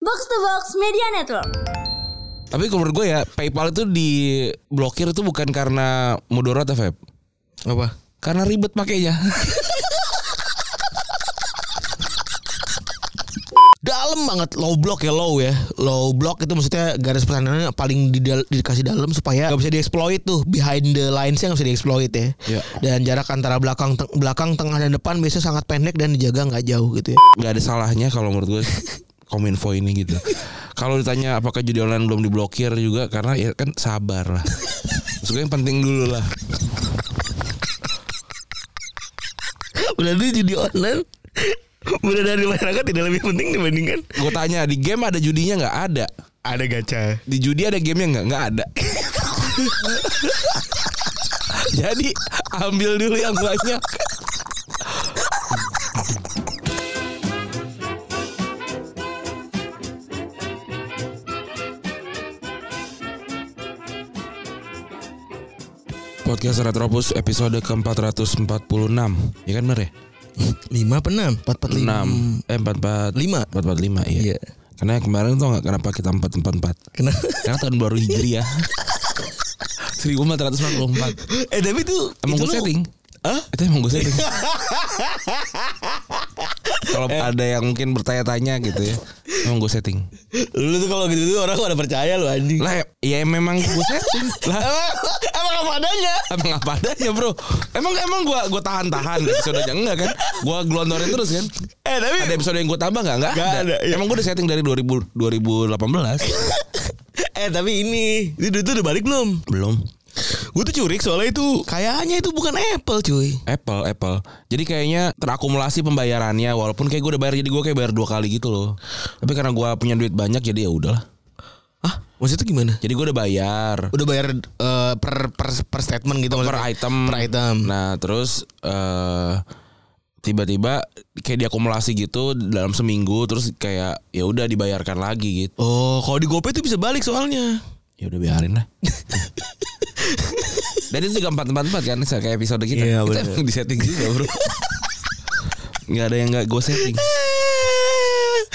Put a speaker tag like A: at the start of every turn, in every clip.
A: Box to Box Media Network.
B: Tapi kalau menurut gue ya PayPal itu diblokir itu bukan karena mudorot ya Feb.
C: Apa?
B: Karena ribet pakainya.
C: Dalam banget low block ya low ya. Low block itu maksudnya garis pertahanannya paling didal- dikasih dalam supaya nggak bisa dieksploit tuh behind the lines nya nggak bisa dieksploit ya.
B: Iya.
C: Dan jarak antara belakang teng- belakang tengah dan depan biasanya sangat pendek dan dijaga nggak jauh gitu ya.
B: Gak ada salahnya kalau menurut gue kominfo ini gitu. Kalau ditanya apakah judi online belum diblokir juga karena ya kan sabar lah. Maksud gue yang penting dulu lah.
C: Berarti judi online Bener dari masyarakat tidak lebih penting dibandingkan
B: Gue tanya di game ada judinya nggak ada.
C: ada gacha.
B: Di judi ada gamenya nggak? Nggak ada. Jadi ambil dulu yang banyak. Podcast Retropus episode ke-446 Ya kan bener ya?
C: 5 apa 6?
B: 6
C: 4 4
B: Eh 44
C: Lima.
B: 445 iya
C: Iya.
B: Karena kemarin tau gak kenapa kita 444
C: Kenapa?
B: karena tahun baru ya. Hijriah. 1444.
C: eh tapi tuh
B: Emang
C: itu
B: gue
C: lu-
B: setting?
C: Hah?
B: Itu emang gue setting. Kalau
C: Eh.
B: ada yang mungkin bertanya-tanya gitu ya. Emang gue setting.
C: Lu tuh kalau gitu tuh orang pada percaya lu anjing.
B: Lah ya memang gue setting. Lah
C: Emang emang apa adanya?
B: emang apa adanya bro Emang emang gue gua tahan-tahan episodenya Enggak kan Gue gelondorin terus kan
C: Eh tapi
B: Ada episode yang gue tambah gak? Enggak
C: Nggak ada, iya.
B: Emang gue udah setting dari 2000, 2018
C: eh tapi ini itu duit tuh udah balik belum?
B: Belum
C: Gue tuh curiga soalnya itu kayaknya itu bukan Apple cuy.
B: Apple, Apple. Jadi kayaknya terakumulasi pembayarannya walaupun kayak gue udah bayar jadi gue kayak bayar dua kali gitu loh. Tapi karena gue punya duit banyak jadi ya udahlah.
C: Hah? Maksudnya gimana?
B: Jadi gue udah bayar
C: Udah bayar eh, per, per per statement gitu
B: per item.
C: Per item.
B: Nah, terus eh tiba-tiba kayak diakumulasi gitu dalam seminggu terus kayak ya udah dibayarkan lagi gitu.
C: Oh, kalau di GoPay tuh bisa balik soalnya.
B: Ya udah biarin lah. Dan itu juga 444 kan kayak episode kita.
C: Iya,
B: kita
C: bener.
B: emang di setting juga, Bro. Gak ada yang gak gue setting.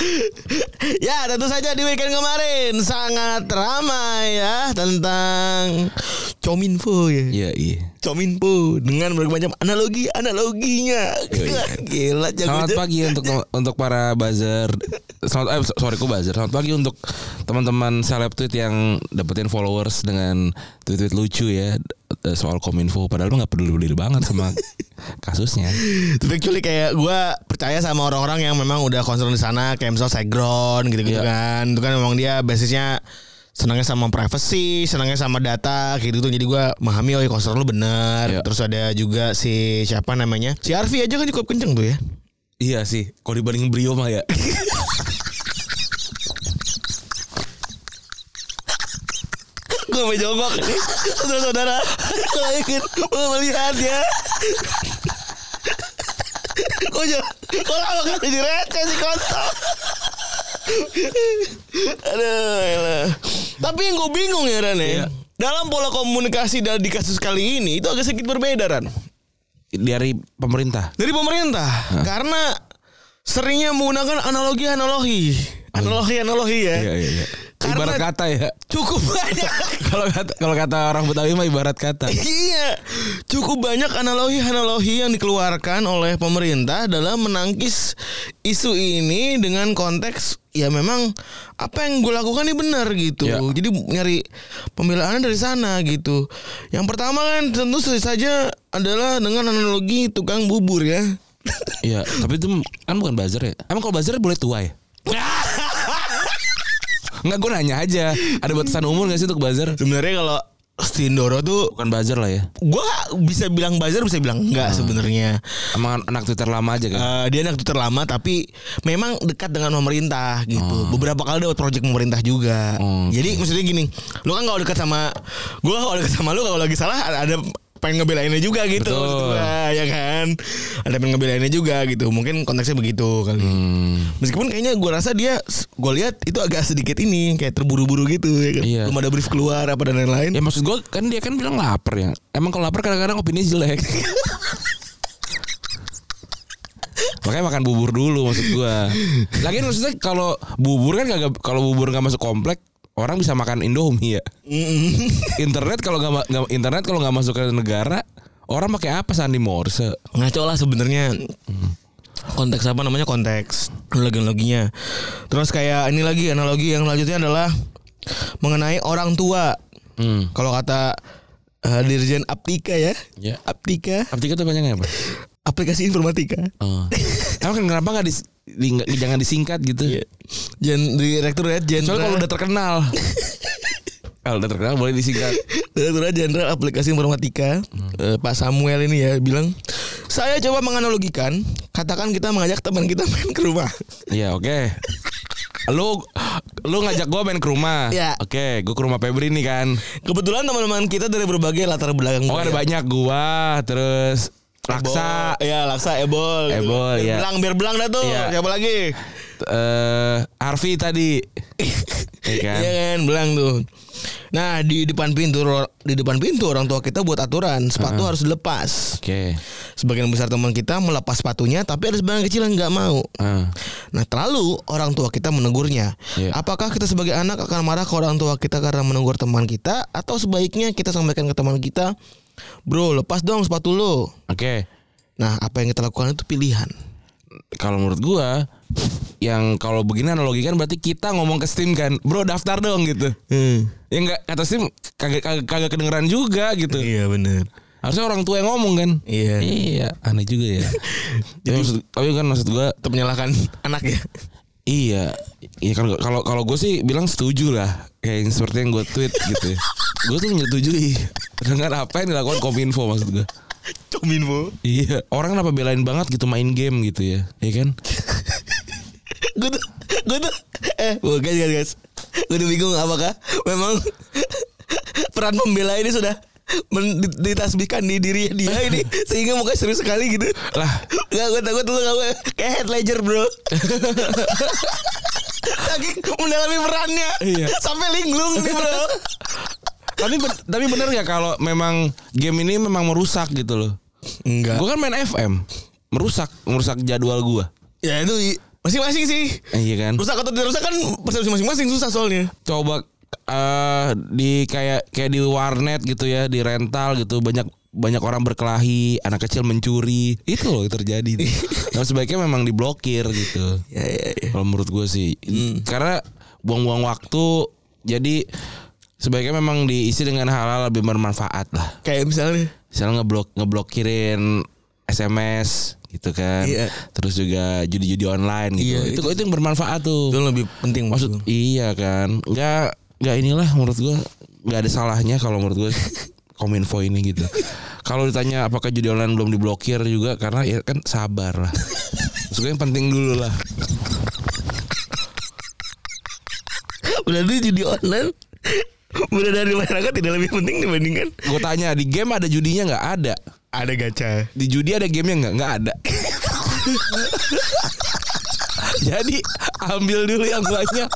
C: ya tentu saja di weekend kemarin sangat ramai ya tentang Cominfo ya.
B: Iya, iya.
C: Cominfo dengan berbagai macam analogi analoginya. Gila jago
B: Selamat pagi untuk untuk para buzzer. Selamat eh, so- sorry ku buzzer. Selamat pagi untuk teman-teman seleb tweet yang dapetin followers dengan tweet-tweet lucu ya eh, soal kominfo padahal mah nggak peduli-peduli banget sama kasusnya.
C: Tapi actually kayak gue percaya sama orang-orang yang memang udah concern di sana kayak misal Segron
B: Iya.
C: gitu-gitu kan. Itu kan memang dia basisnya senangnya sama privacy, senangnya sama data kayak gitu. Jadi gue memahami oh ya concern lu bener.
B: Iya.
C: Terus ada juga si siapa namanya? Si Arfi aja kan cukup kenceng tuh ya.
B: Iya sih, kalau dibanding Brio mah ya.
C: gue mau jongkok nih saudara-saudara kalau ingin mau melihat ya kok jauh kok lama kali direceh si kontol aduh elah. tapi yang gue bingung ya Ran ya
B: Iya.
C: dalam pola komunikasi dari kasus kali ini itu agak sedikit berbeda Ran
B: Dari pemerintah.
C: dari pemerintah karena seringnya menggunakan analogi analogi analogi analogi ya
B: Iya, iya, iya.
C: Karena-
B: Ibarat kata ya.
C: cukup banyak
B: Kalau kata kalau kata orang Betawi mah ibarat kata.
C: Iya, cukup banyak analogi-analogi yang dikeluarkan oleh pemerintah dalam menangkis isu ini dengan konteks ya memang apa yang gue lakukan ini benar gitu.
B: Ya.
C: Jadi nyari pembelaannya dari sana gitu. Yang pertama kan tentu saja adalah dengan analogi tukang bubur ya.
B: Iya, tapi itu kan bukan buzzer ya. Emang kalau buzzer boleh tua ya? Enggak gue nanya aja Ada batasan umur gak sih untuk buzzer?
C: Sebenarnya kalau Stindoro tuh
B: Bukan buzzer lah ya
C: gue bisa bilang buzzer bisa bilang enggak sebenarnya.
B: Emang anak Twitter lama aja kan?
C: Eh, dia anak Twitter lama tapi memang dekat dengan pemerintah gitu. Beberapa kali dapat proyek pemerintah juga.
B: Oh. Oke.
C: Jadi maksudnya gini, lu kan kalau dekat sama gua kalau dekat sama lu kalau lagi salah ada- ada pengen ngebelainnya juga gitu
B: Betul.
C: maksud gua, ya kan. Ada pengen ngebelainnya juga gitu. Mungkin konteksnya begitu kali.
B: Hmm,
C: Meskipun kayaknya gua rasa dia gua lihat itu agak sedikit ini kayak terburu-buru gitu ya kan.
B: Iya.
C: Belum ada brief keluar apa dan lain-lain.
B: Ya maksud gue kan dia kan bilang lapar ya Emang kalau lapar kadang-kadang opini jelek Makanya makan bubur dulu maksud gua. Lagian maksudnya kalau bubur kan kagak kalau bubur nggak masuk komplek orang bisa makan Indomie ya. Internet kalau nggak ma- nggak- internet kalau nggak masuk ke negara orang pakai apa sandi morse?
C: ngaco lah sebenarnya konteks apa namanya konteks analoginya terus kayak ini lagi analogi yang selanjutnya adalah mengenai orang tua
B: Hmm.
C: kalau kata eh, Dirjen Aptika ya
B: Ya.
C: Aptika
B: Aptika tuh panjangnya apa?
C: aplikasi informatika
B: Oh. Emang kenapa nggak dis- di, nggak- jangan disingkat gitu?
C: Jen
B: Soalnya
C: Direktorat
B: kalau
C: Jenderal
B: udah terkenal. kalau udah terkenal boleh disingkat.
C: Direktur ya, Jenderal Aplikasi Informatika eh, Pak Samuel ini ya bilang saya coba menganalogikan katakan kita mengajak teman kita main ke rumah
B: Iya, oke. Lu lu ngajak gua main ke rumah.
C: Iya.
B: Oke, gua ke rumah Febri nih kan.
C: kebetulan teman-teman kita dari berbagai latar belakang
B: Oh, ada
C: budaya.
B: banyak gua, terus Raksa,
C: Ebol. ya laksa ebol
B: Ebol,
C: biar
B: ya.
C: belang biar belang dah tuh
B: Iya.
C: siapa lagi
B: eh Arfi tadi. Iya kan?
C: Iya kan belang tuh nah di depan pintu di depan pintu orang tua kita buat aturan sepatu harus dilepas
B: Oke.
C: sebagian besar teman kita melepas sepatunya tapi ada sebagian kecil yang nggak mau
B: Ah.
C: Nah, terlalu orang tua kita menegurnya.
B: Iya.
C: Apakah kita sebagai anak akan marah ke orang tua kita karena menegur teman kita atau sebaiknya kita sampaikan ke teman kita, "Bro, lepas dong sepatu lo."
B: Oke.
C: Nah, apa yang kita lakukan itu pilihan.
B: Kalau menurut gua yang kalau begini analogikan berarti kita ngomong ke Steam kan. Bro, daftar dong gitu.
C: Hmm.
B: Ya enggak kata Steam kagak kagak, kagak kedengeran juga gitu.
C: Iya, benar.
B: Harusnya orang tua yang ngomong kan.
C: Iya.
B: Iya, aneh juga ya. Tapi maksud, tapi kan maksud gua
C: Untuk menyalahkan anak ya.
B: iya, iya kalau kalau kalau gue sih bilang setuju lah, kayak yang seperti yang gue tweet gitu. ya. Gue tuh menyetujui dengan apa yang dilakukan Kominfo maksud gue.
C: Cominfo.
B: Iya, orang kenapa belain banget gitu main game gitu ya, ya kan?
C: gue tuh, gue tuh, eh, wah, guys, guys, guys. Gue tuh bingung apakah memang peran pembela ini sudah men- ditasbihkan di diri dia ini sehingga mukanya serius sekali gitu.
B: Lah,
C: Gak gue takut lu gak gue Kayak head ledger bro Saking mendalami perannya
B: Iya.
C: Sampai linglung nih bro
B: tapi ben- tapi bener nggak kalau memang game ini memang merusak gitu loh?
C: Enggak
B: Gue kan main FM, merusak merusak jadwal gue.
C: Ya itu i- masing-masing sih
B: Iya kan?
C: Rusak atau tidak rusak kan persepsi masing-masing susah soalnya
B: coba eh di kayak kayak di warnet gitu ya di rental gitu banyak banyak orang berkelahi anak kecil mencuri itu loh yang terjadi tuh. Nah, sebaiknya memang diblokir gitu
C: Ya ya ya
B: kalau menurut gue sih karena buang-buang waktu jadi sebaiknya memang diisi dengan hal-hal lebih bermanfaat lah
C: Kayak misalnya
B: misalnya ngeblok ngeblokirin SMS gitu kan
C: Iya.
B: terus juga judi-judi online gitu
C: Iya,
B: itu,
C: itu-
B: itu yang bermanfaat tuh
C: Itu lebih penting
B: maksud
C: maksud
B: iya kan nggak nggak inilah menurut gua nggak ada salahnya kalau menurut gua kominfo ini gitu kalau ditanya apakah judi online belum diblokir juga karena ya kan sabar lah Maksud gua yang penting dulu lah
C: Berarti judi online Udah dari masyarakat tidak lebih penting dibandingkan
B: gue tanya di game ada judinya nggak ada
C: Ada gacha
B: di judi ada gamenya nggak nggak ada jadi ambil dulu yang banyak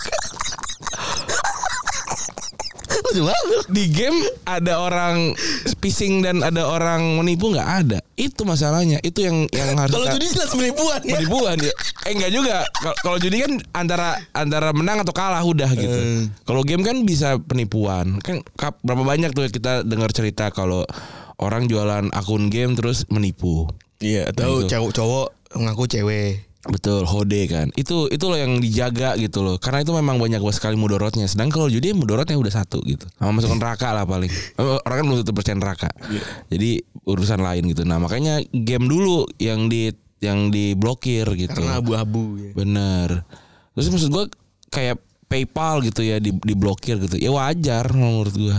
C: Lucu banget
B: di game ada orang phishing dan ada orang menipu nggak ada itu masalahnya itu yang yang harus
C: Kalau
B: kita-
C: judi jelas penipuan ya
B: penipuan ya. Eh enggak juga. Kalau- Kalau judi kan antara antara menang atau kalah udah gitu.
C: Eh.
B: Kalau game kan bisa penipuan. Kan kap- berapa banyak tuh kita dengar cerita kalau orang jualan akun game terus menipu.
C: Iya atau
B: Gitu.
C: cowok cowok ngaku cewek
B: Betul, hode kan. Itu itu loh yang dijaga gitu loh. Karena itu memang banyak sekali mudorotnya. Sedangkan kalau judi mudorotnya udah satu gitu. Sama masuk neraka lah paling. Orang kan belum tentu percaya neraka. Jadi urusan lain gitu. Nah, makanya game dulu yang di yang diblokir gitu.
C: Karena abu-abu ya.
B: Bener. Terus maksud gue kayak PayPal gitu ya di diblokir gitu. Ya wajar menurut gue.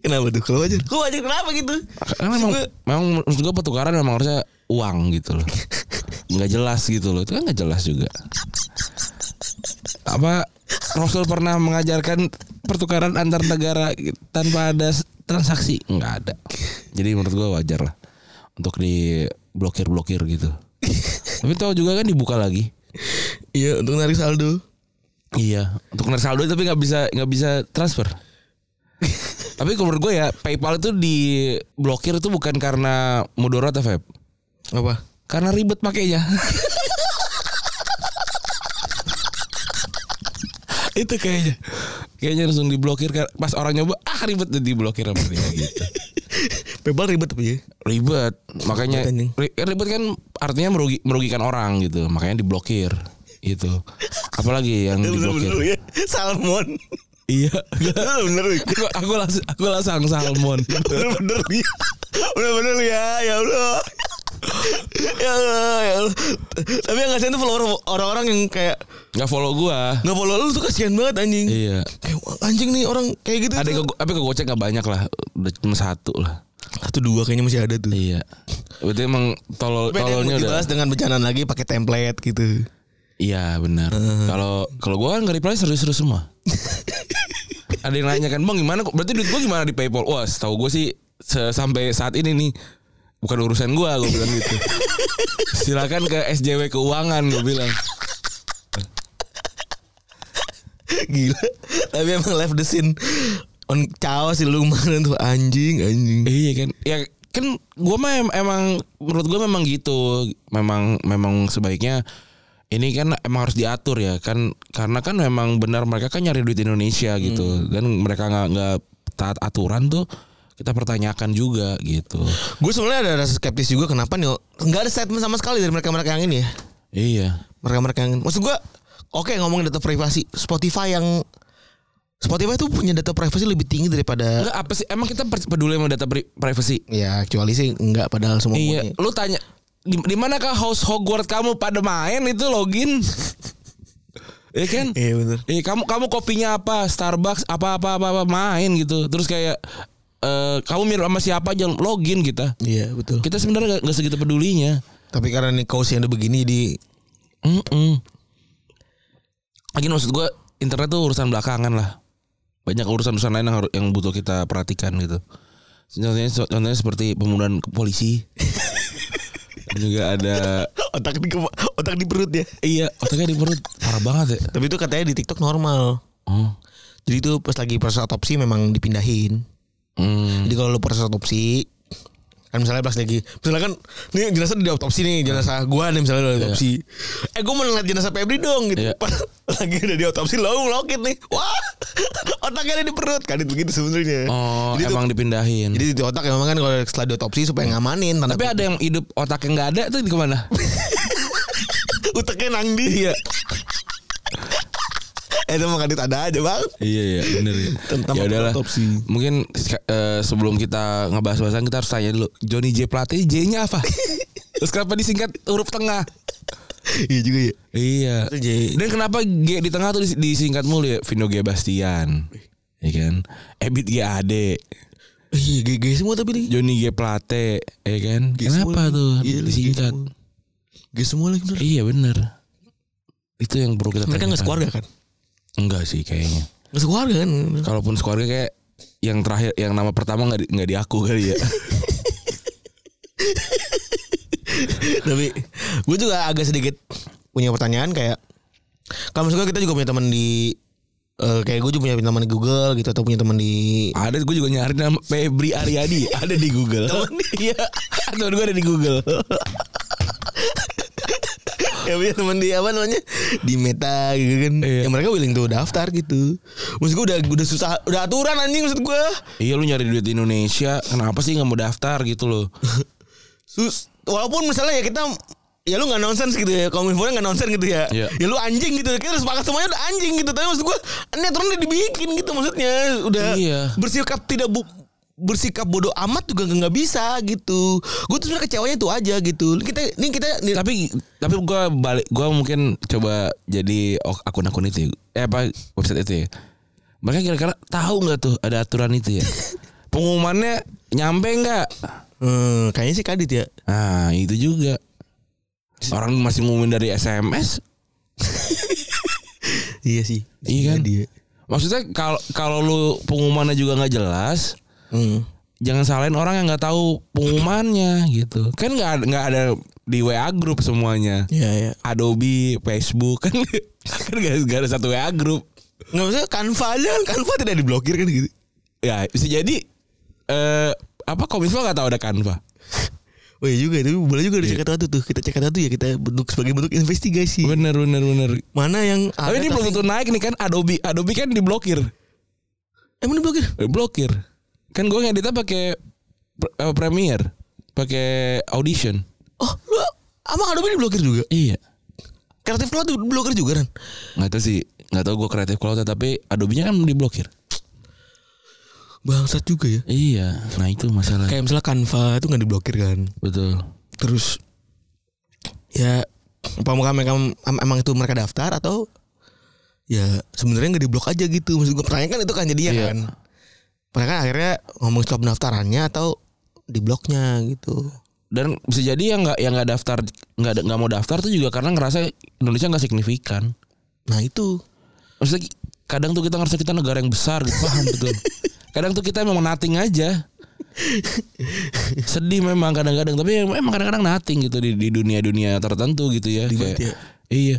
C: Kenapa tuh? Kalau wajar. Kok wajar kenapa gitu?
B: Karena memang, memang menurut gue pertukaran memang harusnya uang gitu loh. Nggak jelas gitu loh. Itu kan nggak jelas juga. Apa Rasul pernah mengajarkan pertukaran antar negara tanpa ada s- transaksi? Nggak ada. Jadi menurut gue wajar lah untuk diblokir-blokir gitu. Tapi tahu juga kan dibuka lagi.
C: Iya, untuk narik saldo.
B: Iya, untuk narik saldo tapi nggak bisa nggak bisa transfer. tapi kalau menurut gue ya PayPal itu diblokir itu bukan karena mudarat ya Feb.
C: Apa?
B: Karena ribet pakainya. itu kayaknya kayaknya langsung diblokir kan pas orang nyoba ah ribet deh diblokir sama dia gitu
C: Pebal ribet tapi ya.
B: ribet makanya
C: Ribet, anjing.
B: ri- ribet kan artinya merugi, merugikan orang gitu makanya diblokir gitu apalagi yang diblokir
C: ya. Salmon.
B: iya
C: Bener ya. bener.
B: aku aku las- aku lasang salmon
C: Bener bener ya. Bener bener ya. Ya Allah. ya Allah, ya Allah. Tapi yang kasihan tuh follower orang-orang yang kayak
B: nggak follow gua
C: nggak follow lu tuh kasihan banget anjing.
B: iya
C: Eh, anjing nih orang kayak gitu.
B: ada yang ke,
C: tuh.
B: tapi ke gocek nggak banyak lah udah cuma satu lah
C: satu dua kayaknya masih ada tuh.
B: iya berarti emang tolol
C: Tapi ada yang
B: tololnya
C: mau
B: udah
C: dibahas dengan bencana lagi pakai template gitu.
B: iya benar kalau kalau gua kan nggak reply serius-serius semua ada yang nanya kan bang gimana kok berarti duit gua gimana di paypal wah setahu gua sih se- sampai saat ini nih bukan urusan gua gua bilang gitu silakan ke SJW keuangan gua bilang
C: Gila. Tapi emang live the scene on chaos sih lu kemarin tuh anjing anjing.
B: Iya kan. Ya kan gua mah em- emang menurut gua memang gitu. Memang memang sebaiknya ini kan emang harus diatur ya kan karena kan memang benar mereka kan nyari duit Indonesia gitu dan mereka nggak nggak taat aturan tuh kita pertanyakan juga gitu.
C: Gue sebenarnya ada rasa skeptis juga kenapa nih nggak ada statement sama sekali dari mereka-mereka yang ini ya.
B: Iya.
C: Mereka-mereka yang maksud gue oke ngomongin data privasi Spotify yang Spotify tuh punya data privasi lebih tinggi daripada
B: Enggak apa sih emang kita per- peduli sama data pri- privacy?
C: ya kecuali sih enggak padahal semua
B: Iya,
C: punya.
B: lu tanya di, di manakah house Hogwarts kamu pada main itu login? Iya kan?
C: Iya bener
B: Eh kamu kamu kopinya apa? Starbucks apa apa apa, apa, main gitu. Terus kayak eh kamu mirip sama siapa aja login kita.
C: Iya betul
B: Kita sebenarnya gak, segitu pedulinya.
C: Tapi karena nih kaos yang ada begini jadi
B: Mm-mm. Lagi maksud gue internet tuh urusan belakangan lah. Banyak urusan-urusan lain yang, harus- yang butuh kita perhatikan gitu. Contohnya, contohnya seperti pembunuhan polisi. juga ada
C: otak di kepa- otak di perut ya
B: iya otaknya di perut parah banget ya.
C: Tapi itu katanya di TikTok normal
B: Oh.
C: Jadi itu pas lagi proses autopsi memang dipindahin
B: Hmm.
C: Jadi kalau lu proses autopsi kan misalnya pas lagi misalnya kan ini jenazah di autopsi nih jenazah gua nih misalnya udah autopsi eh gua mau ngeliat jenazah Febri dong gitu
B: Iya.
C: Pas lagi udah di autopsi lo ngelokit nih wah otaknya ada di perut kan itu gitu sebenarnya
B: Oh,
C: jadi,
B: emang
C: tuh-
B: dipindahin.
C: jadi di otak emang kan kalau setelah di autopsi supaya ngamanin tanda
B: Tapi ada yang hidup otaknya nggak ada tuh di kemana?
C: utaknya nang di
B: iya.
C: eh itu makanya ada aja bang
B: Iya iya bener ya.
C: Tentang
B: ya udahlah.
C: otopsi.
B: Mungkin eh, sebelum kita ngebahas bahasan kita harus tanya dulu Johnny J Plate J-nya apa? Terus kenapa disingkat huruf tengah?
C: iya juga ya
B: Iya.
C: Itu J.
B: Dan kenapa G di tengah tuh dis- disingkat mulu ya? Vino G Bastian. Ya kan? Ebit G Ade,
C: iya GG semua tapi lagi
B: Johnny G Plate, ya kan?
C: G semua
B: kenapa
C: lagi.
B: tuh
C: Iya, lagi G
B: disingkat?
C: semua. G semua lagi bener
B: Iya bener. Itu yang perlu kita
C: mereka nggak
B: tanyakan.
C: sekeluarga kan
B: Enggak sih kayaknya.
C: nggak sekeluarga kan
B: Kalaupun sekeluarga kayak yang terakhir yang nama pertama nggak di, nggak diaku kali ya.
C: tapi gue juga agak sedikit punya pertanyaan kayak kalau misalnya kita juga punya teman di eh, kayak gue juga punya teman di Google gitu atau punya teman di
B: ada gue juga nyari nama Febri Ariadi ada di Google. Iya, temen gue ada di Google.
C: ya punya teman di apa namanya di Meta gitu kan
B: Iya.
C: ya mereka willing tuh daftar gitu maksud gue udah udah susah udah aturan anjing maksud gue
B: iya lu nyari duit di Indonesia, kenapa sih nggak mau daftar gitu loh?
C: sus walaupun misalnya ya kita ya lu nggak nonsense gitu ya kominfonya nggak nonsense gitu ya
B: Iya.
C: ya lu anjing gitu kita harus sepakat semuanya udah anjing gitu tapi maksud gue ini aturan udah dibikin gitu maksudnya udah
B: Iya.
C: bersikap tidak bu bersikap bodoh amat juga nggak bisa gitu gue tuh sebenarnya kecewanya itu aja gitu kita ini kita ini-
B: tapi tapi gue balik gue mungkin coba jadi ok- akun-akun itu, ya. eh apa website itu ya. Mereka kira-kira tahu nggak tuh ada aturan itu ya? Pengumumannya nyampe nggak?
C: Hmm, kayaknya sih kadit ya
B: Nah itu juga. Orang masih ngumumin dari SMS,
C: iya sih
B: Iya kan?
C: dia
B: Maksudnya kalau kalau lu pengumumannya juga nggak jelas,
C: hmm.
B: jangan salahin orang yang nggak tahu pengumumannya gitu. Kan nggak ada- nggak ada di WA grup semuanya.
C: ya ya
B: Adobe, Facebook kan kan gak, ada satu WA grup.
C: nggak maksudnya kanva aja kan kanva tidak diblokir kan gitu
B: Ya bisa jadi eh apa kominfo nggak tahu ada Canva.
C: Oh iya juga tapi boleh juga dicekat satu tuh. Kita cekat satu ya kita bentuk sebagai bentuk investigasi.
B: Bener bener bener.
C: Mana yang
B: Iya. Tapi
C: ada
B: ini belum
C: tapi-
B: tentu naik nih kan Adobe Adobe kan diblokir.
C: Emang diblokir?
B: Eh, Blokir. Kan gue ngeditnya pakai pr- eh, Premiere, pakai Audition.
C: Oh, lu sama Adobe diblokir juga.
B: Iya.
C: Kreatif Cloud diblokir juga kan.
B: Nggak tahu sih, nggak tahu gue kreatif cloud tapi Adobe-nya kan diblokir.
C: Bangsat juga ya.
B: Iya, nah itu masalah.
C: Kayak misalnya Canva itu nggak diblokir kan.
B: Betul.
C: Terus ya apa mereka mereka- em- emang itu mereka daftar atau ya sebenarnya nggak diblok aja gitu maksud gue pertanyaan kan itu kan jadi ya
B: Iya.
C: kan mereka akhirnya ngomong soal pendaftarannya atau dibloknya gitu
B: Dan bisa jadi yang nggak yang nggak daftar nggak ada- nggak mau daftar tuh juga karena ngerasa Indonesia nggak signifikan.
C: nah itu
B: Maksudnya kadang tuh kita ngerasa kita negara yang besar gitu paham betul. Kadang tuh kita memang nothing aja. Sedih memang kadang-kadang tapi emang kadang-kadang nothing gitu di di dunia-dunia tertentu gitu ya.
C: banget ya.
B: Iya.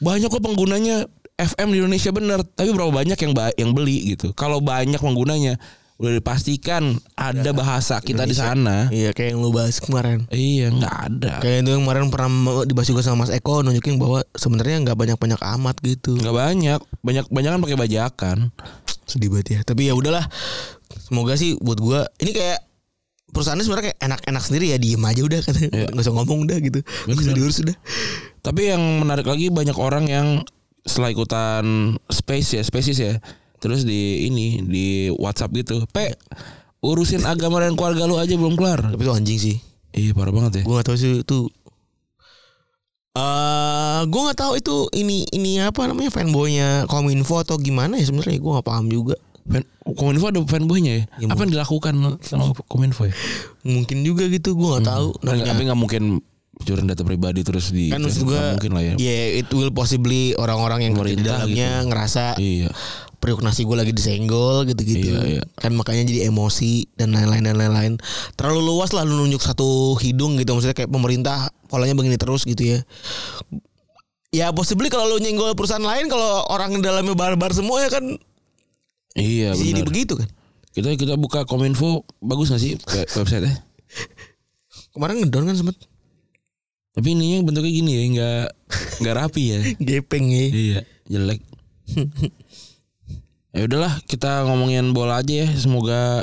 B: Banyak kok penggunanya FM di Indonesia bener, tapi berapa banyak yang ba- yang beli gitu. Kalau banyak penggunanya udah dipastikan ada bahasa kita di sana.
C: iya kayak yang lu bahas kemarin
B: Iya, nggak ada.
C: kayak itu yang kemarin pernah dibahas juga sama Mas Eko nunjukin bahwa sebenarnya nggak banyak banyak amat gitu
B: Nggak banyak. Banyak banyak kan pakai bajakan.
C: sedih banget ya tapi ya udahlah semoga sih buat gua ini kayak perusahaannya sebenarnya kayak enak-enak sendiri ya diem aja udah kan
B: Iya.
C: nggak usah ngomong udah gitu nggak usah diurus udah
B: Tapi yang menarik lagi banyak orang yang setelah ikutan space ya, spesies ya. Terus di ini di WhatsApp gitu. Pe, urusin agama dan keluarga lu aja belum kelar.
C: tapi itu anjing sih
B: Iya, parah banget ya.
C: gua nggak tahu sih itu eh gua nggak tahu itu ini ini apa namanya fanboynya kominfo atau gimana ya sebenarnya gua nggak paham juga
B: Fan, Kominfo ada fanboynya ya?
C: Iya,
B: Apa yang dilakukan sama Kominfo ya?
C: mungkin juga gitu gua nggak tahu
B: Hmm. Tapi- tapi nggak mungkin pencurian data pribadi terus di
C: kan maksud
B: nggak
C: gua
B: mungkin lah ya.
C: yeah, it will possibly orang-orang yang kerja di
B: Pemerintah
C: dalamnya ngerasa
B: Iya.
C: periuk nasi gue lagi disenggol gitu-gitu
B: Iya, iya.
C: kan makanya jadi emosi dan lain-lain dan lain-lain terlalu luas lah lu nunjuk satu hidung gitu maksudnya kayak pemerintah polanya begini terus gitu ya ya possibly kalau lu nyenggol perusahaan lain kalau orang di dalamnya barbar semua ya kan
B: Iya
C: bisa jadi
B: benar.
C: begitu kan
B: Kita kita buka Kominfo bagus nggak sih we- website-nya?
C: kemarin ngedown kan sempet
B: Tapi ininya bentuknya gini ya, nggak nggak rapi ya.
C: gepeng ya
B: Iya, jelek. ya udahlah, kita ngomongin bola aja ya. Semoga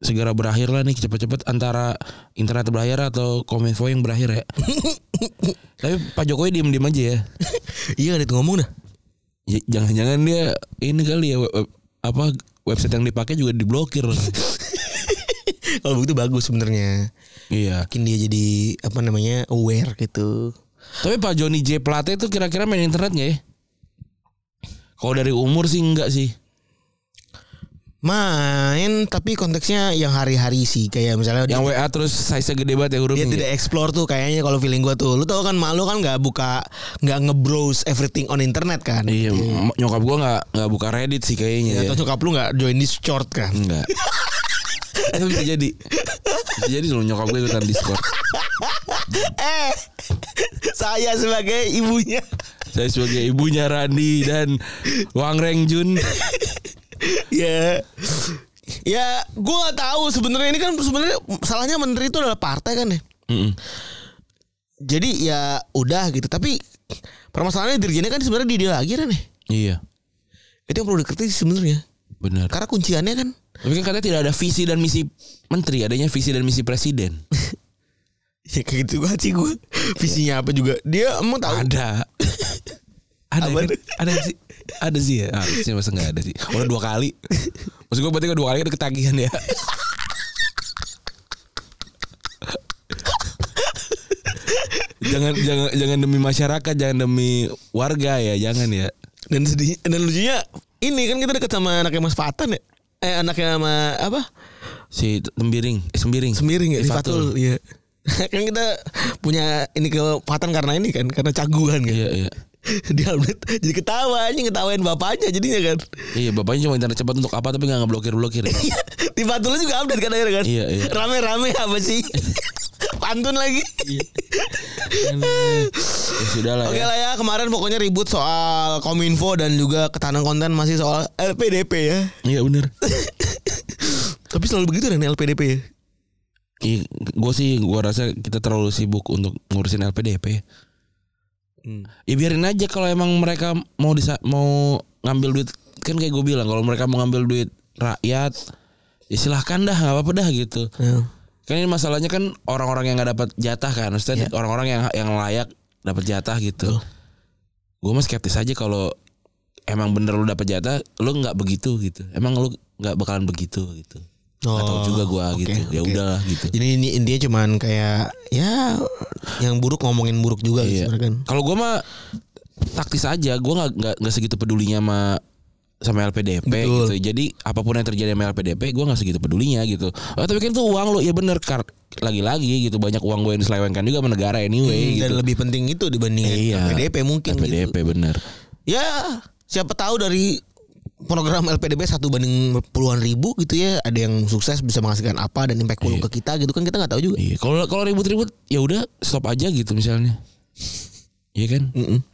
B: segera berakhir lah nih cepet-cepet antara internet berakhir atau Kominfo yang berakhir ya. Tapi Pak Jokowi diem-diem aja ya.
C: iya ada itu ngomong dah
B: Ya, Jangan-jangan dia ini kali ya web- web- apa website yang dipakai juga diblokir.
C: kalau begitu bagus sebenarnya
B: iya.
C: mungkin dia jadi apa namanya aware gitu
B: Tapi Pak Joni J Plate itu kira-kira main internet nggak ya? Kalau dari umur sih enggak sih.
C: main tapi konteksnya yang hari-hari sih kayak misalnya dia-
B: Yang WA terus size gede banget ya hurufnya.
C: dia
B: ya?
C: tidak explore tuh kayaknya kalau feeling gua tuh lu tau kan malu kan nggak buka nggak ngebrowse everything on internet kan
B: Iya, m- nyokap gua nggak nggak buka Reddit sih kayaknya. Ya,
C: Iya, atau nyokap lu nggak join Discord kan
B: Enggak. Itu bisa jadi. Bisa jadi dulu nyokap gue ikutan Discord.
C: eh saya sebagai ibunya
B: Saya sebagai ibunya Randi dan Wang Reng Jun.
C: ya ya gua nggak tahu sebenarnya ini kan sebenarnya salahnya menteri itu adalah partai kan ya
B: Mm-mm.
C: jadi ya udah gitu tapi permasalahannya dirjennya kan sebenarnya di dia lagi kan ya
B: Iya,
C: itu yang perlu dikritisi sebenarnya
B: benar.
C: karena kunciannya kan
B: Tapi kan katanya tidak ada visi dan misi menteri, adanya visi dan misi presiden.
C: ya kayak gitu banget sih gua visinya apa juga dia emang tahu
B: Ada. ada
C: Apa
B: kan?
C: tuh?
B: ada sih ada sih ya ah, sih masa nggak ada sih udah dua kali maksud gue berarti kan dua kali kan ketagihan ya jangan jangan jangan demi masyarakat jangan demi warga ya jangan ya
C: Dan sedih dan lucunya ini kan kita dekat sama anaknya Mas Fatan ya. Eh anaknya sama apa?
B: si tembiring eh, sembiring
C: Semiring ya,
B: Fatul.
C: Fatul. Iya. kan kita punya ini ke Fatan karena ini kan, karena caguan kan.
B: iya iya
C: Dia update jadi ketawa anjing ketawain bapaknya jadinya kan.
B: iya bapaknya cuma internet cepat untuk apa tapi nggak ngeblokir blokir ya.
C: Di Fatul juga update kan akhirnya kan.
B: Iya, iya.
C: Rame-rame apa sih? Pantun lagi.
B: ya sudah lah
C: Iya. Oke
B: ya.
C: lah ya kemarin pokoknya ribut soal kominfo dan juga ketahanan konten masih soal LPDP ya.
B: iya bener
C: Tapi selalu begitu dan LPDP ya.
B: gue sih gue rasa kita terlalu sibuk untuk ngurusin LPDP.
C: Hmm.
B: Ya biarin aja kalau emang mereka mau disa- mau ngambil duit kan kayak gue bilang kalau mereka mau ngambil duit rakyat ya silahkan dah nggak apa-apa dah gitu.
C: Ya.
B: Kan ini masalahnya kan orang-orang yang nggak dapat jatah kan, maksudnya
C: Iya.
B: orang-orang yang yang layak dapat jatah gitu. Gue mah skeptis aja kalau emang bener lu dapat jatah, lu nggak begitu gitu. Emang lu nggak bakalan begitu gitu. Nggak tahu
C: Oh,
B: juga gue
C: oke,
B: gitu. Ya
C: oke.
B: udahlah gitu.
C: Jadi ini intinya cuman kayak ya yang buruk ngomongin buruk juga
B: Iya.
C: iya. sebenarnya kan.
B: Kalau gue mah taktis aja, gue nggak nggak nggak segitu pedulinya sama sama LPDP
C: Betul.
B: gitu. Jadi apapun yang terjadi sama LPDP, gue nggak segitu pedulinya gitu. Oh, tapi kan itu uang lo, ya bener kar lagi-lagi gitu banyak uang gue yang diselewengkan juga sama negara anyway gitu.
C: Iya, Hmm, Dan lebih penting itu dibandingin
B: Iya.
C: LPDP mungkin gitu.
B: LPDP bener.
C: Ya, siapa tahu dari program LPDP satu banding puluhan ribu gitu ya ada yang sukses bisa menghasilkan apa dan impact lu ke kita gitu kan kita nggak tahu juga.
B: Iya, kalau kalau ribut-ribut ya udah stop aja gitu misalnya. Iya kan?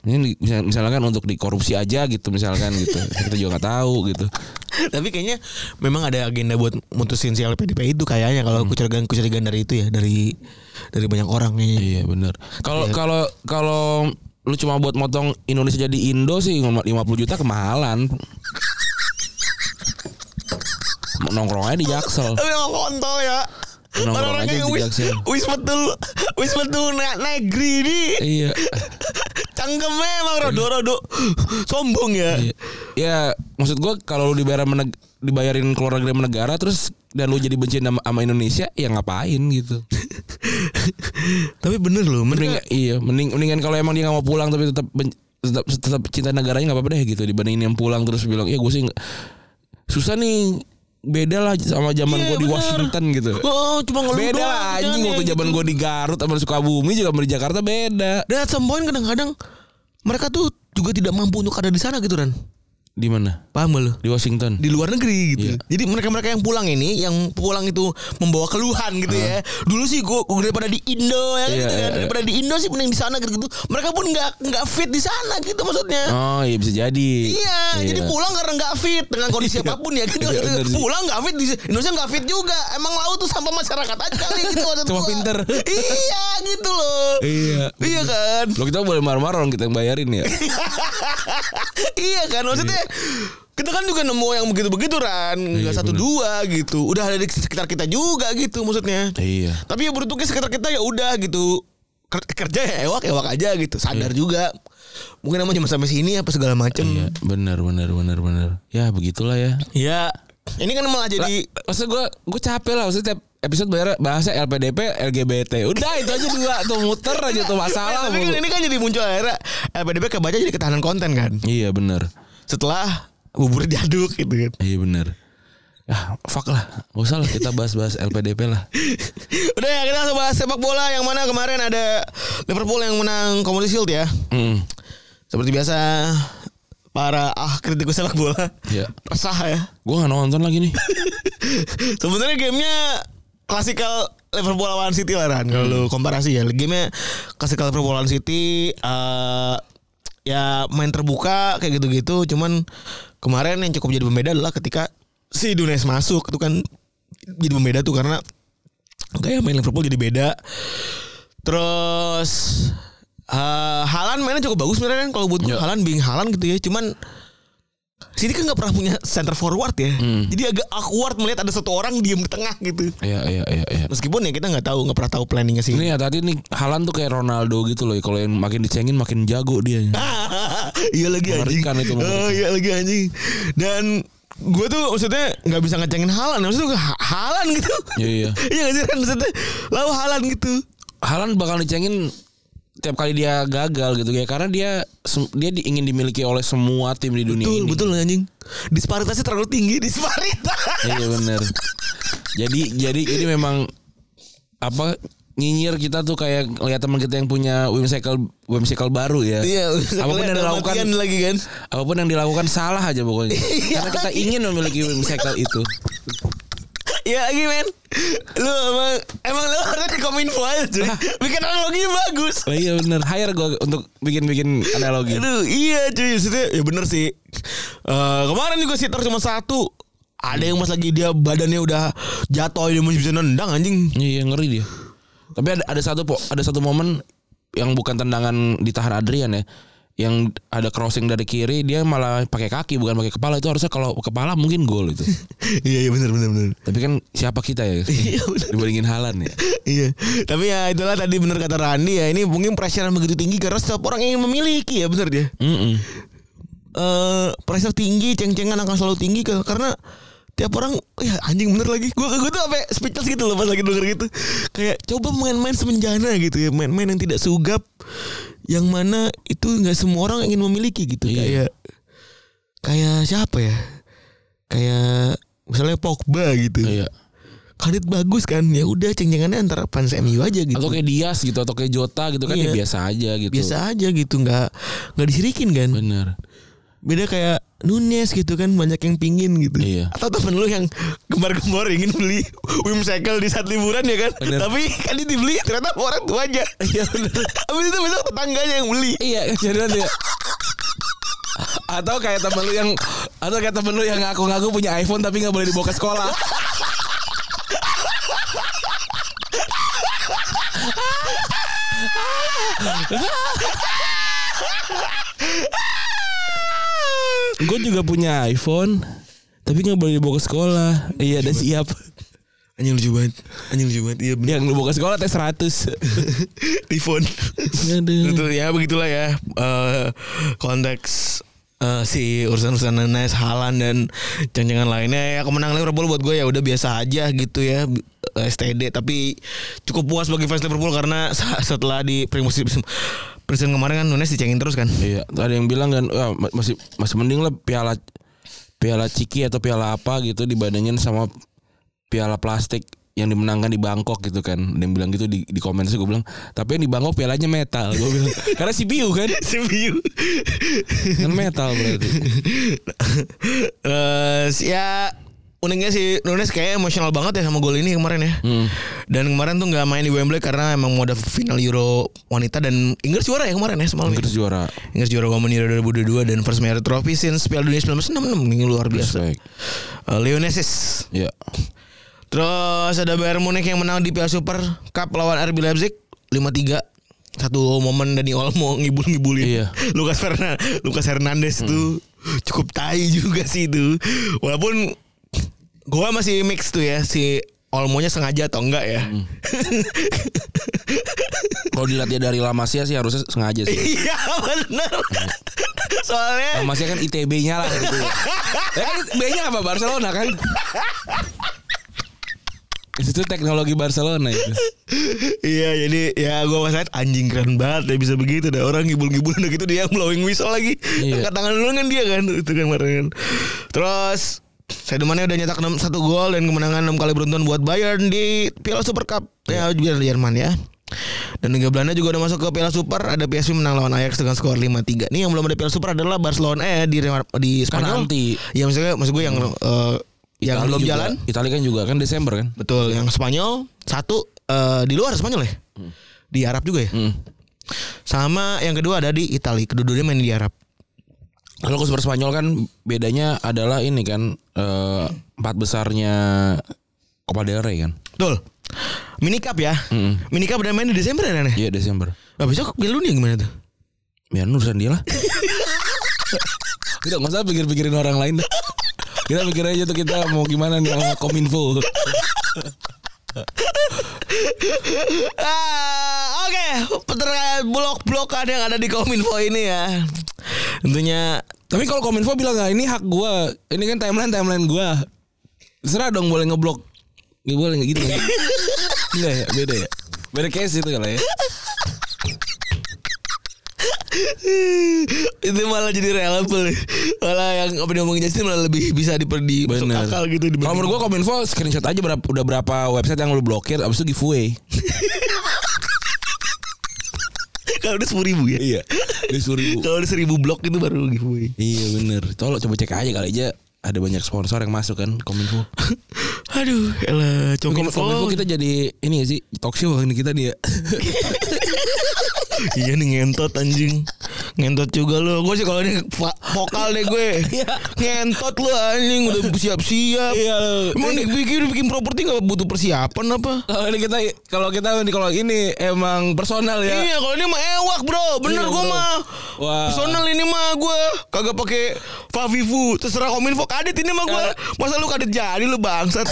B: Ini misal- misalkan untuk dikorupsi aja gitu misalkan gitu. Kita juga nggak tahu gitu.
C: Tapi kayaknya memang ada agenda buat mutusin si LPDP itu kayaknya kalau
B: Hmm.
C: kecurigaan-kecurigaan dari itu ya dari dari banyak orang kayaknya.
B: Iya benar. Kalau kalau kalau lu cuma buat motong Indonesia jadi Indo sih 50 juta kemahalan. Nongkrong aja di Jaksel.
C: Tapi emang kontol ya.
B: Nongkrong
C: Orang-orang
B: aja
C: yang
B: di
C: wis
B: Jaksel.
C: wis betul wis betul na- negeri ini
B: Iya.
C: cangkemnya emang rodo-rodo sombong ya.
B: iya. Ya, maksud gua kalau lu dibayar sama neg- dibayarin keluar negeri sama negara terus dan lu jadi benci sama, sama Indonesia ya ngapain gitu.
C: Tapi bener loh,
B: Mending
C: mereka
B: iya, mending mendingan kalau emang dia nggak mau pulang tapi tetap ben- tetap tetap cinta negaranya nggak apa-apa deh gitu dibandingin yang pulang terus bilang ya gue sih nggak- susah nih beda lah sama zaman
C: Iya,
B: gue di
C: bener.
B: Washington gitu.
C: Oh, cuma ngeluh
B: beda
C: doang,
B: lah anjing
C: jangan
B: waktu
C: ya,
B: zaman
C: gitu.
B: gue di Garut sama di Sukabumi juga sama di Jakarta beda.
C: Dan at some point kadang-kadang mereka tuh juga tidak mampu untuk ada di sana gitu kan.
B: Di mana?
C: Paham gak lo?
B: Di Washington.
C: Di luar negeri gitu.
B: Iya.
C: Jadi mereka-mereka yang pulang ini, yang pulang itu membawa keluhan gitu ya. Dulu sih gua, gua daripada di Indo ya kan
B: Iya,
C: gitu kan.
B: iya, iya.
C: Daripada di Indo sih mending di sana gitu. Mereka pun nggak nggak fit di sana gitu maksudnya.
B: Oh iya bisa jadi.
C: Iya, jadi pulang karena nggak fit dengan kondisi apapun ya gitu.
B: Iya, bener sih.
C: pulang nggak fit di Indonesia nggak fit juga. Emang laut tuh sampah masyarakat aja kali gitu maksud
B: Cuma
C: gua.
B: pinter.
C: Iya gitu loh.
B: Iya.
C: Iya kan?
B: Lo kita boleh marah-marah orang kita yang bayarin ya.
C: iya kan maksudnya kita kan juga nemu yang begitu-begitu kan nggak
B: Iya,
C: satu
B: bener.
C: dua gitu udah ada di sekitar kita juga gitu maksudnya
B: iya.
C: tapi ya beruntungnya sekitar kita ya udah gitu Ker- kerja ya ewak ewak aja gitu sadar juga mungkin emang cuma sampai sini apa segala macem
B: Iya, benar benar benar benar. Ya begitulah ya.
C: ya ini kan malah jadi
B: Maksud gue gue capek lah Maksudnya tiap episode bayar bahasa LPDP LGBT Udah itu aja dua Tuh muter aja tuh masalah
C: Tapi kan
B: mulu.
C: ini kan jadi muncul akhirnya eh, LPDP kebaca jadi ketahanan konten kan
B: Iya bener
C: setelah bubur diaduk gitu kan
B: Iya bener Ah fuck lah Gak usah lah kita bahas-bahas LPDP lah
C: udah ya kita langsung bahas sepak bola yang mana kemarin ada Liverpool yang menang Community Shield ya
B: Mm.
C: seperti biasa para ah kritikus sepak bola
B: Iya.
C: resah ya
B: Gue gak nonton lagi nih
C: sebenarnya gamenya klasikal Liverpool lawan City lah Ran kalau lu komparasi ya gamenya klasikal Liverpool lawan City eh, ya main terbuka kayak gitu-gitu cuman kemarin yang cukup jadi pembeda adalah ketika si Dunes masuk itu kan jadi pembeda tuh karena kayak main Liverpool jadi beda terus eh Halan mainnya cukup bagus sebenarnya kan kalau buat gue
B: Ya.
C: Halan being Halan gitu ya cuman City kan nggak pernah punya center forward ya.
B: Hmm.
C: Jadi agak awkward melihat ada satu orang diem di tengah gitu.
B: Iya iya iya iya
C: Meskipun ya kita nggak tahu nggak pernah tahu planningnya sih.
B: Ini ya tadi nih Halan tuh kayak Ronaldo gitu loh Kalau yang makin dicengin makin jago dia
C: iya lagi anjing.
B: Mengerikan itu, mengerikan.
C: Oh, iya lagi anjing. Dan gue tuh maksudnya nggak bisa ngecengin Halan. Maksudnya gue ha- Halan gitu.
B: Iya, iya.
C: Iya nggak sih kan maksudnya lalu Halan gitu.
B: Halan bakal dicengin tiap kali dia gagal gitu ya karena dia sem- dia di- ingin dimiliki oleh semua tim di dunia
C: Betul
B: ini.
C: betul anjing. Disparitasnya terlalu tinggi disparitas.
B: Iya bener Jadi jadi ini memang apa nyinyir kita tuh kayak lihat teman kita yang punya whimsical whimsical baru ya.
C: Iya,
B: Apapun yang dilakukan
C: matian lagi kan.
B: apapun yang dilakukan salah aja pokoknya.
C: Iya.
B: Karena kita ingin memiliki whimsical itu.
C: Ya lagi men Lu emang Emang lu harusnya di kominfo aja cuy Bikin analoginya bagus
B: Oh, iya bener Hire gue untuk bikin-bikin analogi.
C: Aduh iya cuy Maksudnya ya bener sih Eh, Kemarin juga sitter cuma satu Ada yang pas lagi dia badannya udah jatuh dia masih bisa nendang anjing.
B: Iya ngeri dia. Tapi ada ada satu po- ada satu momen yang bukan tendangan ditahan Adrian ya. Yang ada crossing dari kiri dia malah pakai kaki bukan pakai kepala itu harusnya kalau kepala mungkin gol itu.
C: Iya iya benar benar benar.
B: Tapi kan siapa kita ya dibandingin Halan ya.
C: Iya. Tapi ya itulah tadi benar kata Randi ya. Ini mungkin pressure yang begitu tinggi karena setiap orang ingin memiliki ya benar dia.
B: Mm-mm.
C: eh pressure tinggi, ceng-cengan akan selalu tinggi ke, karena tiap orang ya anjing bener lagi gua gue tuh sampai speechless gitu loh pas lagi denger gitu kayak coba main-main semenjana gitu ya main-main yang tidak sugap yang mana itu nggak semua orang ingin memiliki gitu
B: Iya.
C: kayak kayak siapa ya kayak misalnya Pogba gitu
B: Iya.
C: kredit bagus kan ya udah ceng-cengannya antara fans MU aja gitu
B: Atau kayak Dias gitu atau kayak Jota gitu kan ya
C: Iya.
B: biasa aja gitu.
C: biasa aja gitu nggak nggak disirikin kan
B: Bener.
C: beda kayak Nunes gitu kan banyak yang pingin gitu
B: Iya.
C: atau temen lu yang gemar-gemar ingin beli whimsical di saat liburan ya kan
B: Bener.
C: tapi kan dia dibeli ternyata sama orang tua aja
B: Iya bener.
C: habis itu besok tetangganya yang beli
B: Iya kejadian dia. Atau kayak temen lu yang Atau kayak temen lu yang ngaku-ngaku punya iPhone Tapi gak boleh dibawa ke sekolah Gue juga punya iPhone Tapi gak boleh dibawa ke sekolah Iya dan siap
C: anjing lucu banget anjing lucu banget iya bener
B: Yang dibawa ke sekolah tes 100
C: tifon
B: Aduh.
C: itu ya begitulah ya eh, konteks eh, si urusan-urusan Nunes Halan dan ceng-cengan lainnya ya kemenangan Liverpool buat gue ya udah biasa aja gitu ya B- STD tapi cukup puas bagi fans Liverpool karena sa- setelah di musim presiden kemarin kan Nunes dicengin terus kan
B: Iya, ada yang bilang kan "Wah, ma- masih masih mending lah piala piala ciki atau piala apa gitu dibandingin sama piala plastik yang dimenangkan di Bangkok gitu kan. Ada yang bilang gitu di di komen gue bilang, tapi yang di Bangkok pialanya metal. Gue bilang, karena CPU kan,
C: Si Biu.
B: kan metal berarti.
C: Terus ya uniknya si Nunes kayak emosional banget ya sama gol ini kemarin ya. Dan kemarin tuh nggak main di Wembley karena emang mau ada final Euro wanita dan Inggris juara ya kemarin ya semalam. ya.
B: Inggris juara.
C: Inggris juara Women Euro 2022 dan first merit trophy since Piala Dunia 1966 ini luar biasa.
B: Respect.
C: Uh, Leonesis.
B: Iya.
C: Terus ada Bayern Munich yang menang di Piala Super Cup lawan RB Leipzig 5-3. Satu momen Dani Olmo ngibul-ngibulin.
B: Iya.
C: Lucas Fernandes, Lucas Hernandez tuh cukup tai juga sih itu. Walaupun gua masih mix tuh ya si Olmonya sengaja atau enggak ya.
B: Kalau dilatih dari Lamasia sih harusnya sengaja sih.
C: Iya bener. Soalnya
B: Lamasia kan ITB-nya lah gitu. Ya kan B-nya apa Barcelona kan? Itu teknologi Barcelona itu.
C: Iya jadi ya gue pas liat, anjing keren banget dia bisa begitu dah orang ngibul-ngibul udah gitu dia blowing whistle lagi
B: Iya.
C: angkat tangan dulu kan dia kan itu kan kemarin kan. terus Seidemannya udah nyetak 6, 1 gol dan kemenangan 6 kali beruntun buat Bayern di Piala Super Cup ya
B: Iya.
C: biar di Jerman ya dan Liga Belanda juga udah masuk ke Piala Super ada PSV menang lawan Ajax dengan skor 5-3 nih yang belum ada Piala Super adalah Barcelona eh di di
B: Kan
C: Spanyol
B: anti
C: ya maksudnya maksud gue yang eh, yang
B: Itali
C: belum
B: juga.
C: jalan
B: Itali kan juga kan Desember kan.
C: Betul, yang Spanyol satu eh, di luar Spanyol ya. Di Arab juga ya.
B: Hmm.
C: Sama yang kedua ada di Italia. Kedua-duanya main di Arab.
B: Kalau ke Super Spanyol kan bedanya adalah ini kan eh, empat besarnya Copa del Rey kan.
C: Betul. Mini Cup ya.
B: Mm-mm.
C: Mini Cup udah main di Desember ya. Nana?
B: Iya Desember.
C: Nah, besok Piala Dunia gimana tuh?
B: Ya urusan dia lah. kita nggak usah pikir-pikirin orang lain. dah. Kita pikir aja tuh kita mau gimana nih sama Kominfo.
C: Ah, Oke, terkait blok-blokan yang ada di Kominfo ini ya. Tentunya
B: Tapi kalau Kominfo bilang nggak ini hak gua, ini kan timeline timeline gua. Serah dong boleh ngeblok. Ya boleh nggak gitu kan? Enggak ya, beda ya. Beda case itu kalau ya.
C: itu malah jadi reliable. Malah yang apa diomongin Justin malah lebih bisa diper di masuk
B: Bener.
C: akal gitu
B: Kalau
C: dibanding-
B: menurut gua kominfo screenshot aja berapa, udah berapa website yang lu blokir abis itu giveaway.
C: kalau udah 10.000 ya.
B: iya. Di seribu.
C: Kalau udah 1000 blok itu baru giveaway.
B: iya bener. Tolong coba cek aja kali aja ada banyak sponsor yang masuk kan kominfo.
C: Aduh, elah
B: Kom-
C: cokin
B: kominfo kita jadi ini ya sih talk show kan kita dia.
C: Iya nih ngentot anjing. Ngentot juga lu. Gue sih kalau ini fa- vokal deh gue.
B: Iya.
C: Ngentot lu anjing udah siap-siap.
B: Iya, lu.
C: Emang dibikin bikin properti gak butuh persiapan apa?
B: Kalau ini kita kalau kita kalau ini emang personal ya.
C: Iya, kalau ini mah ewak, Bro. Bener
B: Iya,
C: gue
B: bro.
C: mah.
B: Wah.
C: Personal ini mah gue kagak pakai Favivu. Terserah Kominfo kadit ini mah gue.
B: Iya.
C: Masa lu kadit jadi lu bangsat.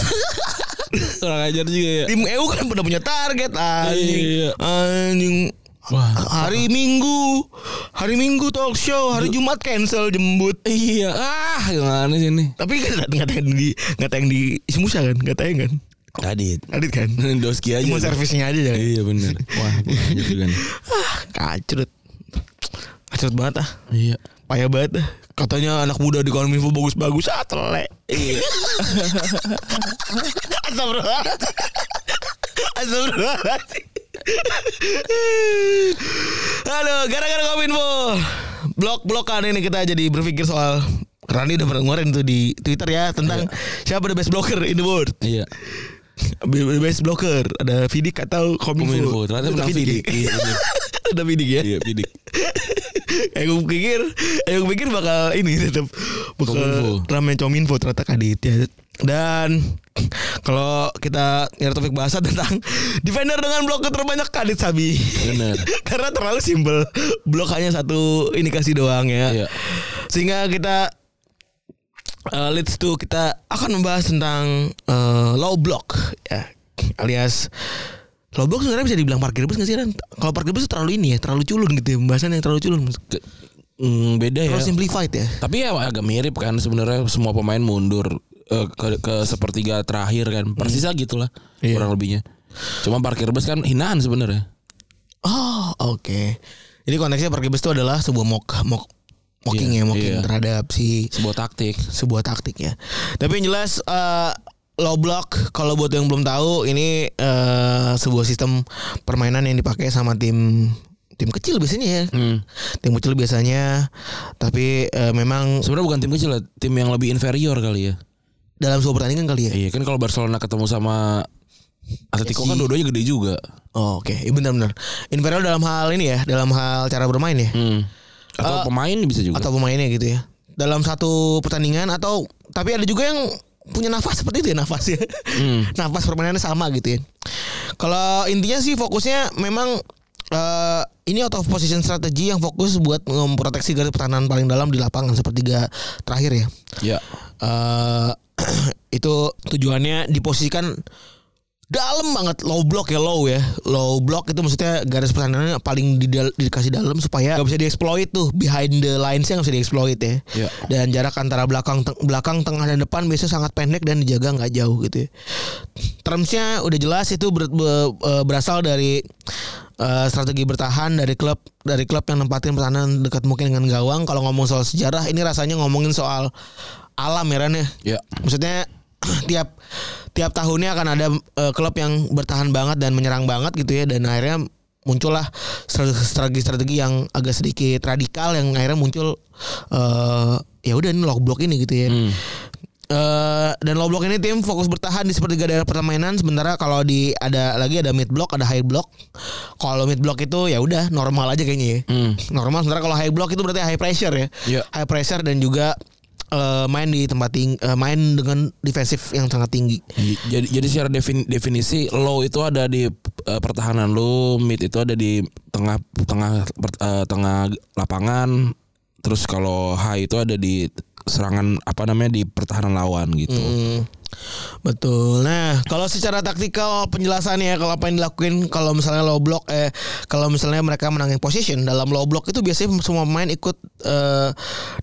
B: Kurang ajar juga ya.
C: Tim EU kan udah punya target anjing.
B: Iya.
C: Anjing.
B: Wah.
C: Hari Minggu, hari Minggu talk show, hari Jumat cancel jembut.
B: Iya. Ah, gimana sih ini?
C: Tapi kan nggak tayang di nggak tayang di Simusa kan, nggak tayang kan,
B: Tadi
C: adit kan.
B: Doski aja.
C: Cuma servisnya aja ya. Ah,
B: Iya benar. Wah, kurang ajar juga nih.
C: Kacrut, kacrut banget ah.
B: Iya.
C: Payah banget ah. Katanya anak muda di Kominfo bagus-bagus ah telek. Iya. Astagfirullahaladzim. Astagfirullahaladzim. Halo, gara-gara Kominfo. Blok-blokan ini kita jadi berpikir soal Rani udah pernah ngeluarin tuh di Twitter ya tentang siapa the best blocker in the world.
B: Iya.
C: The best blocker ada Vidik atau
B: Kominfo.
C: Kominfo.
B: Ternyata
C: Ada
B: menang
C: Vidik.
B: Vidik. Iya, bener.
C: Ada Vidik ya.
B: Iya, Vidik.
C: Eh gue pikir Eh gue pikir bakal ini tetap
B: Kominfo.
C: Bakal rame Cominfo ternyata kadit ya Dan Kalau kita nyari topik bahasan tentang Defender dengan blok terbanyak kadit Sabi
B: Bener.
C: Karena terlalu simpel Blok hanya satu indikasi doang ya
B: Iya.
C: Sehingga kita eh, Leads to kita akan membahas tentang eh, Low block ya, Alias Low block sebenarnya bisa dibilang parkir bus gak sih Ran? Kalau parkir bus itu terlalu ini ya Terlalu culun gitu ya Pembahasannya terlalu culun
B: Ke- mm, beda ya.
C: Terlalu simplified ya.
B: Tapi ya agak mirip kan sebenarnya semua pemain mundur eh, ke, ke sepertiga terakhir kan. Persisnya gitulah
C: Iya.
B: kurang lebihnya. Cuma parkir bus kan hinaan sebenarnya.
C: Oh, oke. Jadi konteksnya pergi bus itu adalah sebuah mock mock mocking
B: Iya,
C: ya, mocking
B: iya.
C: terhadap si
B: Sebuah taktik.
C: sebuah taktik ya. Tapi yang jelas eh, low block kalau buat yang belum tahu ini eh, sebuah sistem permainan yang dipakai sama tim tim kecil biasanya ya.
B: Hmm.
C: Tim kecil biasanya tapi eh, memang
B: Sebenarnya bukan tim kecil lah, tim yang lebih inferior kali ya.
C: dalam sebuah pertandingan kali ya.
B: Iya kan kalau Barcelona ketemu sama Atletico kan dua-duanya gede juga.
C: Oh, oke. Iya, benar-benar. Inferior dalam hal ini ya, dalam hal cara bermain ya.
B: Hmm. Atau pemain bisa juga.
C: atau pemainnya gitu ya dalam satu pertandingan atau tapi ada juga yang punya nafas seperti itu ya nafas ya nafas permainannya sama gitu ya kalau intinya sih fokusnya memang eh, ini out of position strategi yang fokus buat memproteksi garis pertahanan paling dalam di lapangan sepertiga terakhir ya
B: Ya.
C: eh itu tujuannya diposisikan dalam banget low block ya low ya low block itu maksudnya garis pertahanannya paling di dikasih dalam supaya nggak bisa dieksploit tuh behind the lines nya nggak bisa dieksploit ya
B: Iya.
C: dan jarak antara belakang teng- belakang tengah dan depan biasanya sangat pendek dan dijaga nggak jauh gitu ya termsnya udah jelas itu ber- be- eh, berasal dari eh, strategi bertahan dari klub dari klub yang nempatin pertahanan dekat mungkin dengan gawang kalau ngomong soal sejarah ini rasanya ngomongin soal alam ya Ran ya
B: Ya.
C: maksudnya tiap tiap tahunnya akan ada eh, klub yang bertahan banget dan menyerang banget gitu ya dan akhirnya muncullah strategi-strategi yang agak sedikit radikal yang akhirnya muncul eh ya udah ini lock block ini gitu ya. Eh, dan low block ini tim fokus bertahan di sepertiga daerah permainan sementara kalau di ada lagi ada mid block ada high block kalau mid block itu ya udah normal aja kayaknya ya
B: Hmm.
C: normal sementara kalau high block itu berarti high pressure ya
B: Iya.
C: high pressure dan juga eh, main di tempat tinggi main dengan defensif yang sangat tinggi
B: J- Jadi jadi secara defin- definisi low itu ada di eh, pertahanan lu, mid itu ada di tengah tengah per- eh, tengah lapangan, terus kalau high itu ada di serangan apa namanya di pertahanan lawan gitu.
C: Hmm, betul. Nah, kalau secara taktikal penjelasannya kalau apa yang dilakuin kalau misalnya low block eh kalau misalnya mereka menangin position dalam low block itu biasanya semua pemain ikut eh,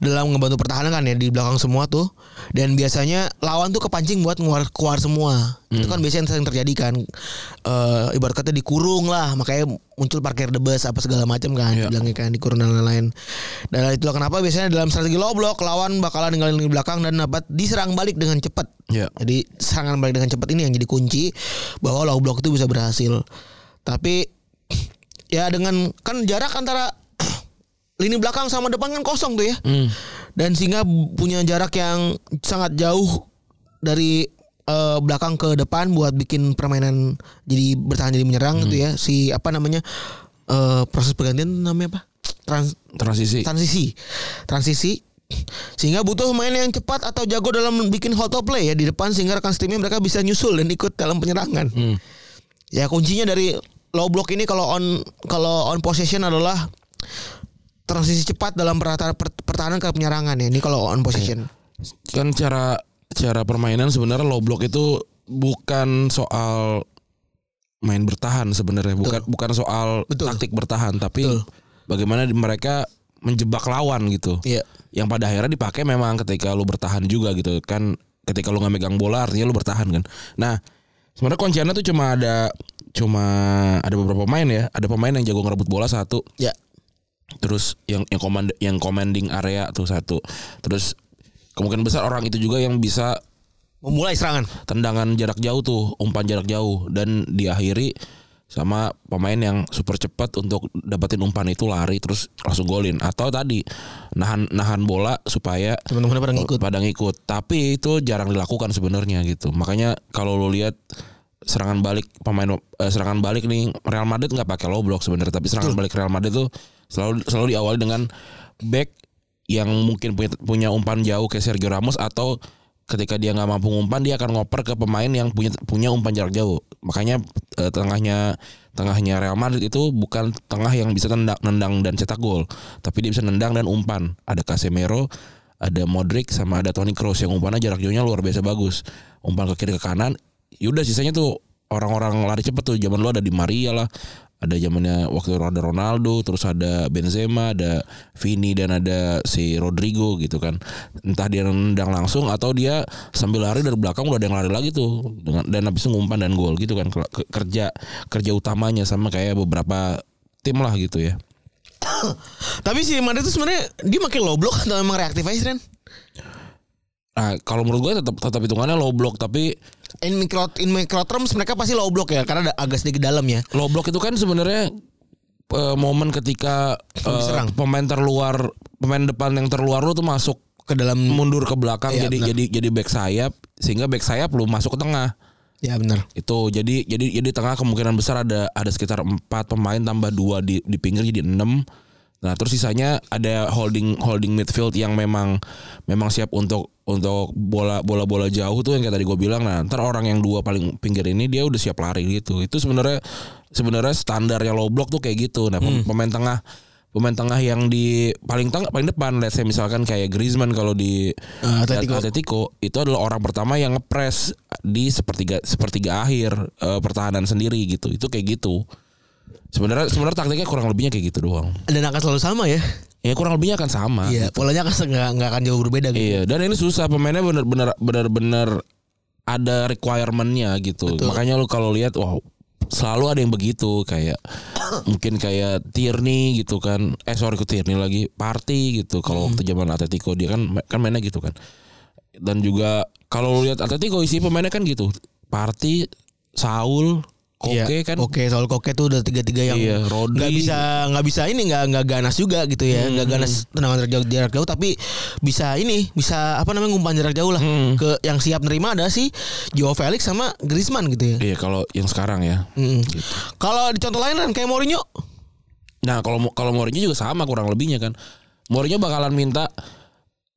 C: dalam ngebantu pertahanan kan ya di belakang semua tuh. Dan biasanya lawan tuh kepancing buat keluar keluar semua. Itu kan biasanya yang sering terjadi kan. Eh ibarat kata dikurung lah, makanya muncul parkir debes apa segala macam kan
B: Iya.
C: bilangnya kan dikurung dan lain-lain. Dan itulah kenapa biasanya dalam strategi low block lawan bakalan ninggalin di belakang dan dapat diserang balik dengan cepat.
B: Iya.
C: Jadi serangan balik dengan cepat ini yang jadi kunci bahwa low block itu bisa berhasil. Tapi ya dengan kan jarak antara lini belakang sama depan kan kosong tuh ya.
B: Hmm.
C: Dan sehingga punya jarak yang sangat jauh dari eh, belakang ke depan buat bikin permainan jadi bertahan jadi menyerang gitu ya. Si apa namanya? eh, proses pergantian namanya apa? trans-
B: transisi
C: transisi transisi sehingga butuh pemain yang cepat atau jago dalam bikin auto play ya di depan sehingga rekan timnya mereka bisa nyusul dan ikut dalam penyerangan.
B: Hmm.
C: Ya kuncinya dari low block ini kalau on kalau on possession adalah transisi cepat dalam pertahanan pertahanan ke penyerangan ya. Ini kalau on possession.
B: kan cara cara permainan sebenarnya low block itu bukan soal main bertahan sebenarnya bukan bukan soal
C: Betul.
B: taktik bertahan tapi
C: Betul.
B: bagaimana di- mereka menjebak lawan gitu
C: Iya.
B: yang pada akhirnya dipakai memang ketika lu bertahan juga gitu kan ketika lu nggak megang bola artinya lu bertahan kan nah sebenarnya kunciannya tuh cuma ada cuma ada beberapa pemain ya ada pemain yang jago ngerebut bola satu
C: Ya.
B: terus yang yang command yang commanding area tuh satu terus kemungkinan besar orang itu juga yang bisa
C: Memulai serangan.
B: tendangan jarak jauh tuh umpan jarak jauh dan diakhiri sama pemain yang super cepat untuk dapetin umpan itu lari terus langsung golin atau tadi nahan nahan bola supaya
C: Teman-teman pada ngikut.
B: pada ngikut tapi itu jarang dilakukan sebenarnya gitu makanya kalau lo lihat serangan balik pemain eh, serangan balik nih Real Madrid nggak pakai low block sebenarnya tapi serangan balik Real Madrid tuh selalu selalu diawali dengan back yang mungkin punya, punya umpan jauh kayak Sergio Ramos atau ketika dia nggak mampu umpan dia akan ngoper ke pemain yang punya punya umpan jarak jauh makanya eh, tengahnya tengahnya Real Madrid itu bukan tengah yang bisa tendang, nendang dan cetak gol tapi dia bisa nendang dan umpan ada Casemiro ada Modric sama ada Toni Kroos yang umpannya jarak jauhnya luar biasa bagus. Umpan ke kiri ke kanan. Yaudah Ya sisanya tuh orang-orang lari cepet tuh. Zaman lu ada di Maria lah. Ada zamannya waktu itu ada Ronaldo, terus ada Benzema, ada Vini dan ada si Rodrigo gitu kan. Entah dia nendang langsung atau dia sambil lari dari belakang udah ada yang lari lagi tuh dengan dan habis itu ngumpan dan gol gitu kan Ke- kerja kerja utamanya sama kayak beberapa tim lah gitu ya.
C: Tapi si Madrid itu sebenarnya dia makin low block atau emang reaktif aja Ren?
B: Nah, kalau menurut gue tetap tetap hitungannya low block tapi
C: In micro in micro terms mereka pasti low block ya karena ada agak sedikit dalam ya.
B: low block itu kan sebenarnya eh, momen ketika eh,
C: Diserang.
B: pemain terluar pemain depan yang terluar lu tuh masuk
C: Ke dalam
B: mundur ke belakang
C: Iya,
B: jadi
C: benar.
B: jadi jadi back sayap sehingga back sayap lu masuk ke tengah
C: ya benar.
B: itu jadi jadi jadi tengah kemungkinan besar ada ada sekitar empat pemain tambah dua di di pinggir jadi enam nah terus sisanya ada holding holding midfield yang memang memang siap untuk untuk bola bola bola jauh tuh yang kayak tadi gue bilang nah ntar orang yang dua paling pinggir ini dia udah siap lari gitu itu sebenarnya sebenarnya standarnya low block tuh kayak gitu nah pem- pemain tengah pemain tengah yang di paling tengah paling depan let's say misalkan kayak Griezmann kalau di
C: Ah, Atletico.
B: Atletico itu adalah orang pertama yang ngepres di sepertiga sepertiga akhir eh, pertahanan sendiri gitu. Itu kayak gitu. Sebenarnya sebenarnya taktiknya kurang lebihnya kayak gitu doang.
C: Dan akan selalu sama ya.
B: Ya kurang lebihnya akan sama.
C: Iya, polanya kan nggak nggak akan jauh berbeda gitu.
B: gitu. Iya, dan ini susah pemainnya bener-bener bener-bener ada requirementnya gitu. Makanya lu kalau lihat wow selalu ada yang begitu kayak mungkin kayak Tierney gitu kan. Eh sorry ke Tierney lagi party gitu. Kalau
C: Hmm.
B: waktu zaman Atletico dia kan kan mainnya gitu kan. Dan juga kalau lu lihat Atletico isi pemainnya kan gitu. Party, Saul, Koke
C: Iya,
B: kan.
C: Oke, soal Koke tuh udah tiga-tiga yang
B: Iya, Rodri.
C: nggak bisa nggak bisa ini nggak nggak ganas juga gitu ya. Nggak
B: Hmm.
C: ganas tendangan jarak jauh jarak jauh tapi bisa ini, bisa apa namanya ngumpan jarak jauh lah.
B: Hmm.
C: Ke yang siap nerima ada si Joao Felix sama Griezmann gitu ya.
B: Iya kalau yang sekarang ya.
C: Mm. Kalau di contoh lain kan kayak Mourinho
B: Nah kalau kalau Mourinho juga sama kurang lebihnya kan. Mourinho bakalan minta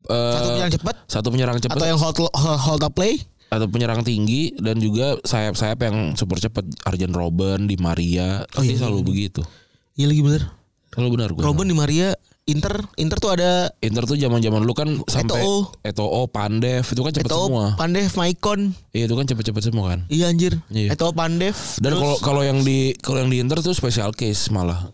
B: eh,
C: satu yang cepat
B: satu penyerang cepat
C: atau
B: atau,
C: yang hold hold, hold up play
B: penyerang tinggi dan juga sayap-sayap yang super cepat Arjen Robben di Maria
C: Oh,
B: oh,
C: iya.
B: selalu begitu
C: Iya lagi bener
B: selalu benar gue
C: Robin di Maria Inter Inter tuh ada
B: Inter tuh zaman-zaman dulu kan sampai
C: Eto'o.
B: Eto'o, Pandev itu kan cepet
C: Eto'o
B: semua
C: Pandev Maicon
B: iya itu kan cepet-cepet semua kan
C: Iya anjir
B: Iya.
C: Eto'o Pandev
B: dan
C: terus-
B: kalau kalau yang di kalau yang di Inter tuh special case malah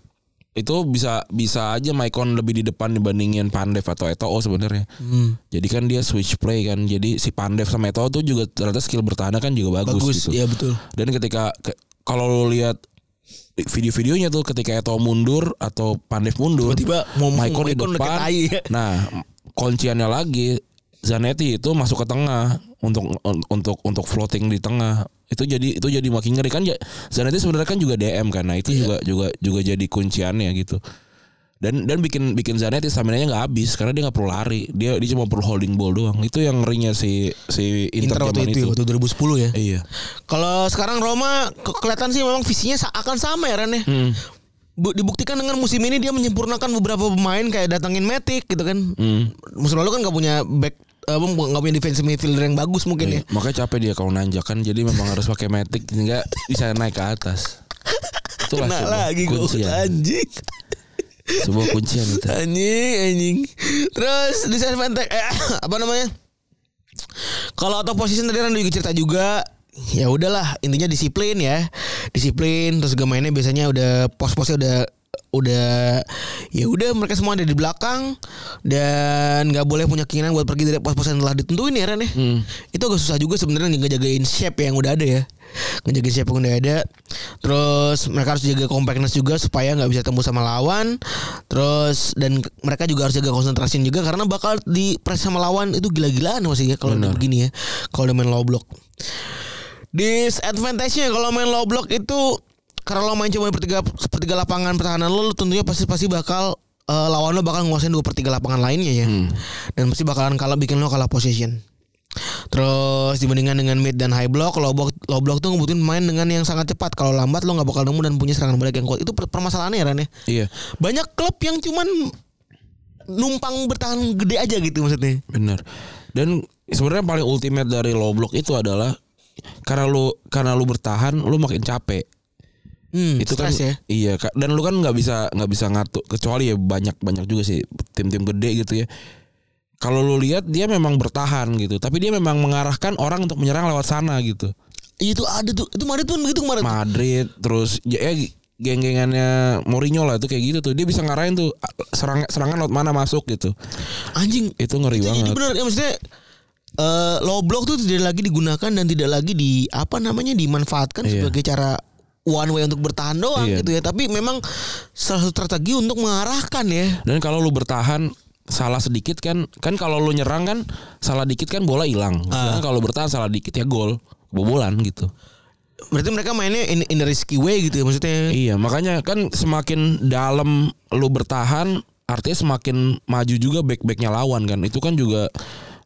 B: itu bisa bisa aja Maicon lebih di depan dibandingin Pandev atau Eto'o sebenarnya
C: Hmm.
B: jadi kan dia switch play kan jadi si Pandev sama Eto'o tuh juga ternyata skill bertahan kan juga bagus,
C: bagus,
B: gitu
C: iya betul
B: Dan ketika ke- kalau lo lihat video-videonya tuh ketika Eto mundur atau Pandev mundur,
C: tiba-tiba mau
B: Maicon di
C: Maicon
B: depan.
C: tai ya.
B: Nah, kunciannya lagi Zanetti itu masuk ke tengah untuk un- untuk untuk floating di tengah. Itu jadi itu jadi makin ngeri kan ja- Zanetti sebenarnya kan juga DM kan. Nah,
C: Iya.
B: itu juga juga juga jadi kunciannya gitu. Dan dan bikin bikin Zanetti stamina-nya nggak habis karena dia nggak perlu lari. Dia dia cuma perlu holding ball doang. Itu yang ngerinya si si Inter,
C: Inter waktu
B: zaman
C: itu,
B: itu.
C: waktu 2010 ya.
B: Iya.
C: Kalau sekarang Roma ke- kelihatan sih memang visinya sa- akan sama ya Ren ya.
B: Hmm.
C: bu- dibuktikan dengan musim ini dia menyempurnakan beberapa pemain kayak datangin Matic gitu kan.
B: Hmm.
C: Musim lalu kan nggak punya back apa nggak punya defensive midfielder yang bagus
B: Iya,
C: mungkin ya.
B: Makanya capek dia kalau nanjak kan jadi memang harus pakai metik sehingga bisa naik ke atas. Itulah
C: Kena
B: sebuah
C: lagi gue
B: kuncian.
C: anjing.
B: Sebuah kuncian itu.
C: Anjing, anjing. Terus disadvantage eh, apa namanya? Kalau auto position tadi Randy juga cerita juga ya udahlah intinya disiplin ya disiplin terus juga mainnya biasanya udah pos-posnya udah udah ya udah mereka semua ada di belakang dan nggak boleh punya keinginan buat pergi dari pos-pos yang telah ditentuin ya Ren ya itu agak susah juga sebenarnya ngejagain shape yang udah ada ya ngejagain shape yang udah ada terus mereka harus jaga compactness juga supaya nggak bisa tembus sama lawan terus dan ke- mereka juga harus jaga konsentrasi juga karena bakal di press sama lawan itu gila-gilaan masih ya kalau udah begini ya kalau udah main low block disadvantage-nya kalau main low block itu karena lo main cuma pertiga sepertiga lapangan pertahanan lo, lo tentunya pasti pasti bakal eh, lawan lo bakal nguasain dua pertiga lapangan lainnya ya dan pasti bakalan kalah bikin lo kalah position Terus dibandingkan dengan mid dan high block, low block, low block tuh ngebutuhin main dengan yang sangat cepat. Kalau lambat lo nggak bakal nemu dan punya serangan balik yang kuat. Itu per- permasalahannya ya Ran ya.
B: Iya,
C: Banyak klub yang cuman numpang bertahan gede aja gitu maksudnya.
B: benar. Dan sebenarnya paling ultimate dari low block itu adalah karena lu karena lu bertahan lu makin capek.
C: Hmm,
B: itu kan
C: stres ya.
B: iya Kak. dan lu kan nggak bisa nggak bisa ngatur kecuali ya banyak banyak juga sih tim-tim gede gitu ya kalau lu lihat dia memang bertahan gitu tapi dia memang mengarahkan orang untuk menyerang lewat sana gitu
C: Iya, Itu ada tuh. Itu Madrid pun begitu kemarin.
B: Madrid terus ya, ya geng-gengannya Mourinho lah itu kayak gitu tuh dia bisa ngarahin tuh serang, serangan lewat mana masuk gitu
C: Anjing.
B: itu ngeri
C: Itu jadi
B: Iya banget
C: bener ya maksudnya eh, low block tuh tidak lagi digunakan dan tidak lagi di apa namanya dimanfaatkan
B: Iya.
C: sebagai cara one way untuk bertahan doang
B: Iya.
C: gitu ya. Tapi memang salah satu strategi untuk mengarahkan ya.
B: dan kalau lu bertahan salah sedikit kan kan kalau lu nyerang kan salah dikit kan bola hilang
C: Ah.
B: Sedangkan kalau bertahan salah dikit ya gol kebobolan gitu
C: Berarti mereka mainnya in, in a risky way gitu ya maksudnya.
B: Iya, makanya kan semakin dalam lu bertahan, artinya semakin maju juga back-backnya lawan kan. Itu kan juga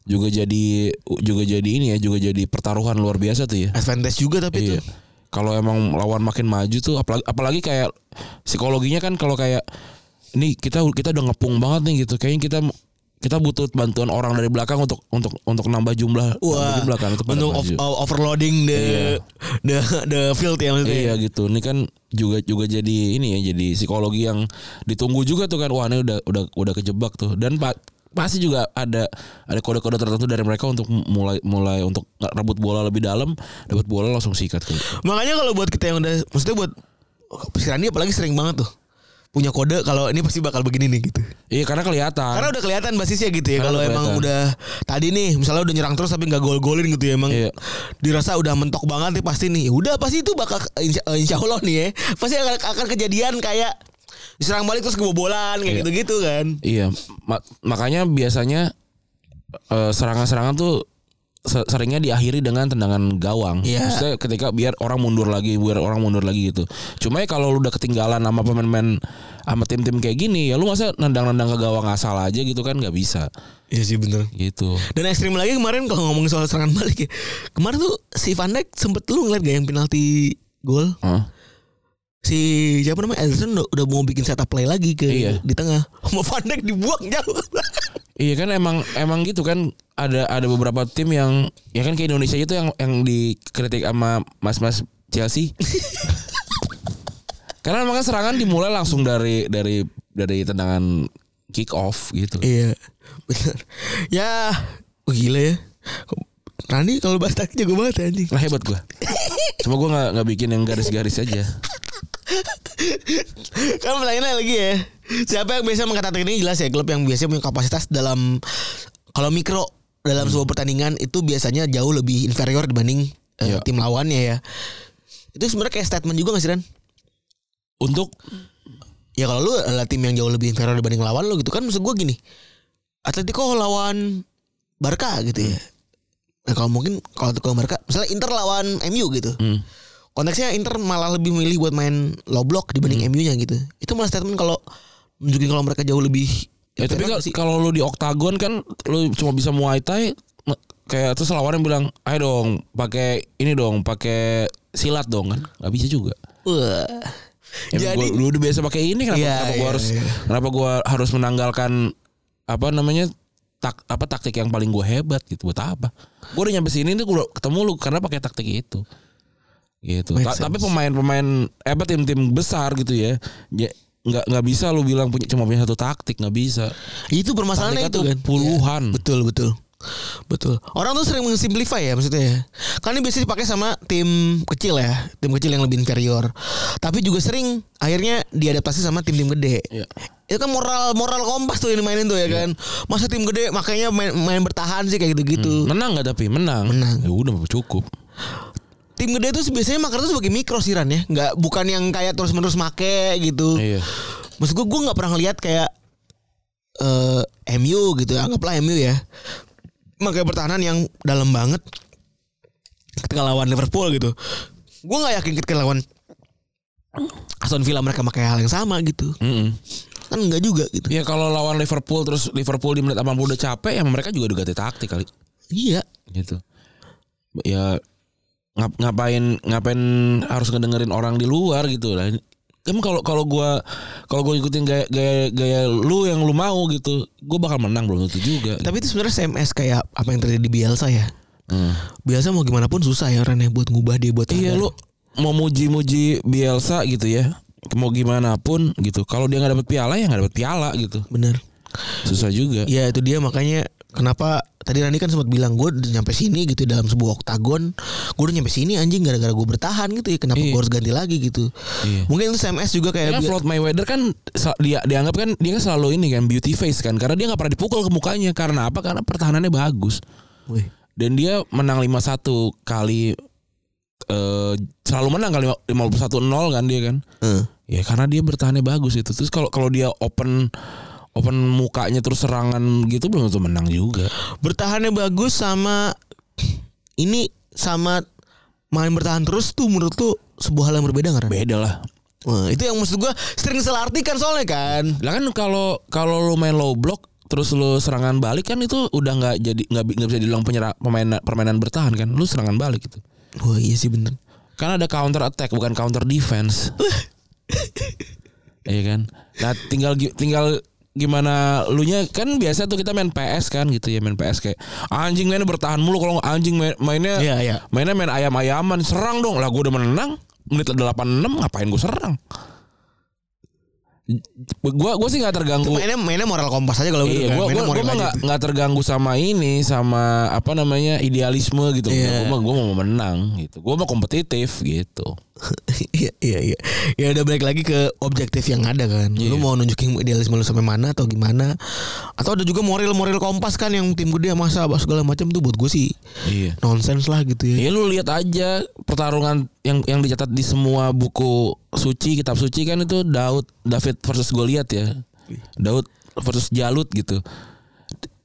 B: juga jadi juga jadi ini ya, juga jadi pertaruhan luar biasa tuh ya.
C: Advantage juga tapi itu.
B: Iya. Kalau emang lawan makin maju tuh apalagi apalagi kayak psikologinya kan kalau kayak ini kita kita udah ngepung banget nih gitu. Kayaknya kita kita butuh bantuan orang dari belakang untuk untuk untuk nambah jumlah nambah
C: Wah,
B: jumlah kan untuk pada
C: untuk
B: maju.
C: ov- o- overloading the, the the field ya maksudnya.
B: Iya gitu. Ini kan juga juga jadi ini ya jadi psikologi yang ditunggu juga tuh kan. Wah, ini udah udah udah kejebak tuh. Dan Pak pasti juga ada ada kode-kode tertentu dari mereka untuk mulai mulai untuk rebut bola lebih dalam, dapat bola langsung sikat tuh.
C: Makanya kalau buat kita yang udah maksudnya buat oh, si Randy apalagi sering banget tuh punya kode kalau ini pasti bakal begini nih gitu.
B: Iya, karena kelihatan.
C: Karena udah kelihatan basisnya gitu ya.
B: Karena
C: Kalau
B: udah
C: emang
B: kelihatan.
C: udah tadi nih misalnya udah nyerang terus tapi nggak gol-golin gitu ya emang
B: Iya.
C: dirasa udah mentok banget nih pasti nih. Udah pasti itu bakal insya, eh, insya Allah nih ya. Pasti akan, akan kejadian kayak diserang balik terus kebobolan kayak
B: Iya.
C: gitu-gitu kan.
B: Iya, ma- makanya biasanya eh, serangan-serangan tuh se- seringnya diakhiri dengan tendangan gawang.
C: Iya.
B: Maksudnya ketika biar orang mundur lagi, biar orang mundur lagi gitu. Cuma ya kalau lu udah ketinggalan sama pemain-pemain sama tim-tim kayak gini, ya lu masa nendang-nendang ke gawang asal aja gitu kan nggak bisa
C: Iya sih bener.
B: gitu.
C: Dan ekstrim lagi kemarin kalau ngomongin soal serangan balik ya. Kemarin tuh si Van Dijk sempet lu ngeliat gak yang penalti gol?
B: Hah?
C: Si siapa namanya Ederson udah, udah mau bikin setup play lagi ke
B: Iya.
C: di tengah. Sama Van Dijk dibuang jauh.
B: Iya kan emang emang gitu kan ada ada beberapa tim yang ya kan kayak Indonesia itu yang yang dikritik sama mas-mas Chelsea. Karena emang kan serangan dimulai langsung dari dari dari tendangan kick off gitu.
C: Iya benar. Ya oh, gila ya. Rani kalau bahas taktik jago banget ya, anjing.
B: Nah hebat gua. Cuma gua nggak nggak bikin yang garis-garis aja.
C: Kan pertanyaannya lagi ya. Siapa yang biasa mengatakan ini jelas ya klub yang biasanya punya kapasitas dalam kalau mikro dalam sebuah pertandingan itu biasanya jauh lebih inferior dibanding eh,
B: Iya.
C: tim lawannya ya. Itu sebenarnya kayak statement juga gak sih Ran?
B: Untuk
C: Ya kalau lu adalah tim yang jauh lebih inferior dibanding lawan lu gitu kan maksud gua gini. Atletico lawan Barca gitu
B: Hmm.
C: ya. Nah, kalau mungkin kalau Atletico lawan Barca, misalnya Inter lawan MU gitu.
B: hmm,
C: konteksnya Inter malah lebih milih buat main low block dibanding
B: Hmm.
C: MU-nya gitu. Itu malah statement kalau nunjukin kalau mereka jauh lebih
B: ya tapi
C: Enak
B: kalau-
C: sih.
B: kalau lu di oktagon kan lu cuma bisa muay thai nge- kayak terus lawannya bilang ayo dong pakai ini dong pakai silat dong kan nggak bisa juga
C: Wah.
B: Ya,
C: Jadi-
B: gua, gua udah biasa pakai ini kenapa,
C: Iya,
B: kenapa gua
C: iya,
B: harus
C: iya.
B: kenapa gua harus menanggalkan apa namanya tak apa taktik yang paling gua hebat gitu buat apa? Gua udah nyampe sini tuh gua ketemu lu karena pakai taktik itu. Gitu.
C: Make
B: Ta-
C: sense.
B: tapi pemain-pemain eh, apa tim-tim besar gitu ya. ya nggak nggak bisa lu bilang punya cuma punya satu taktik nggak bisa.
C: Itu permasalahannya
B: Taktiknya
C: itu
B: tuh
C: kan.
B: puluhan.
C: Iya, betul, betul. Betul. Orang tuh sering mensimplify ya maksudnya ya. Kan ini biasanya dipakai sama tim kecil ya, tim kecil yang lebih inferior. Tapi juga sering akhirnya diadaptasi sama tim-tim gede.
B: Iya.
C: Itu kan moral moral kompas tuh yang dimainin tuh ya kan. Masa tim gede makanya main, main bertahan sih kayak gitu-gitu.
B: Menang nggak tapi menang.
C: Menang.
B: Ya udah cukup.
C: Tim gede tuh biasanya makar tuh sebagai mikro sih Ran ya. Nggak bukan yang kayak terus-menerus make gitu.
B: Iya.
C: Maksud gue gue nggak pernah ngeliat kayak eh MU gitu anggaplah MU ya makanya pertahanan yang dalam banget ketika lawan Liverpool gitu gue nggak yakin ketika lawan Aston Villa mereka pakai hal yang sama gitu
B: Mm-mm.
C: kan nggak juga gitu
B: Ya kalau lawan Liverpool terus Liverpool di menit 80 udah capek ya mereka juga udah ganti taktik kali
C: iya
B: gitu. Ya ngap- ngapain ngapain harus ngedengerin orang di luar gitu lah. Emang kalau kalau gua kalau gua ikutin gaya, gaya gaya lu yang lu mau gitu, gua bakal menang belum tentu juga.
C: tapi itu sebenarnya CMS kayak apa yang terjadi di Bielsa ya
B: Hmm.
C: Bielsa mau gimana pun susah ya orangnya buat ngubah dia buat
B: Iya
C: sadar.
B: lu mau muji-muji Bielsa gitu ya. Mau gimana pun gitu. Kalau dia nggak dapet piala ya nggak dapet piala gitu.
C: bener
B: Susah juga.
C: Ya itu dia makanya kenapa tadi Rani kan sempat bilang gue udah nyampe sini gitu dalam sebuah oktagon gue udah nyampe sini anjing gara-gara gue bertahan gitu ya kenapa
B: Iya.
C: gue harus ganti lagi gitu
B: Iya.
C: mungkin itu SMS juga
B: Kan
C: kayak bi-
B: Floyd Mayweather kan sel- dia dianggap kan dia kan selalu ini kan beauty face kan karena dia nggak pernah dipukul ke mukanya karena apa karena pertahanannya bagus
C: Wih,
B: dan dia menang 5-1 kali eh selalu menang kali 51-0 kan dia kan
C: eh,
B: ya karena dia bertahannya bagus itu terus kalau kalau dia open open mukanya terus serangan gitu belum tentu menang juga
C: bertahannya bagus sama ini sama main bertahan terus tuh menurut lu sebuah hal yang berbeda nggak Ran?
B: beda lah
C: Wah, itu yang maksud gue sering salah artikan soalnya kan
B: lah kan kalau kalau lu main low block terus lu serangan balik kan itu udah nggak jadi nggak bi- nggak bisa dibilang penyerang permainan permainan bertahan kan lu serangan balik gitu
C: wah iya sih bener
B: Karena Kan ada counter attack bukan counter defense. Iya kan? Nah, tinggal gi- tinggal gimana lu nya kan biasa tuh kita main PS kan gitu ya main PS kayak anjing mainnya bertahan mulu kalau nggak anjing main- mainnya
C: Iya, iya.
B: mainnya main ayam-ayaman serang dong lah gue udah menang menit 86 ngapain gue serang gue gue sih nggak terganggu
C: mainnya mainnya moral kompas aja kalau gitu
B: Iya,
C: kan.
B: gua
C: mainnya
B: gua gua
C: moral
B: mah
C: aja.
B: nggak nggak terganggu sama ini sama apa namanya idealisme gitu.
C: Iya.
B: Gua mah gua mau menang gitu. Gua mau kompetitif gitu.
C: Iya iya iya. Ya udah balik lagi ke objektif yang ada kan. Lu
B: Iya.
C: mau nunjukin idealisme lu sampai mana atau gimana? Atau ada juga moral-moral kompas kan yang tim gede masa apa segala macam tuh buat gue sih
B: Iya.
C: nonsens lah gitu
B: Ya
C: ya.
B: lu lihat aja pertarungan yang yang dicatat di semua buku suci kitab suci kan itu Daud David versus Goliat ya.
C: Iya.
B: Daud versus Jalut gitu.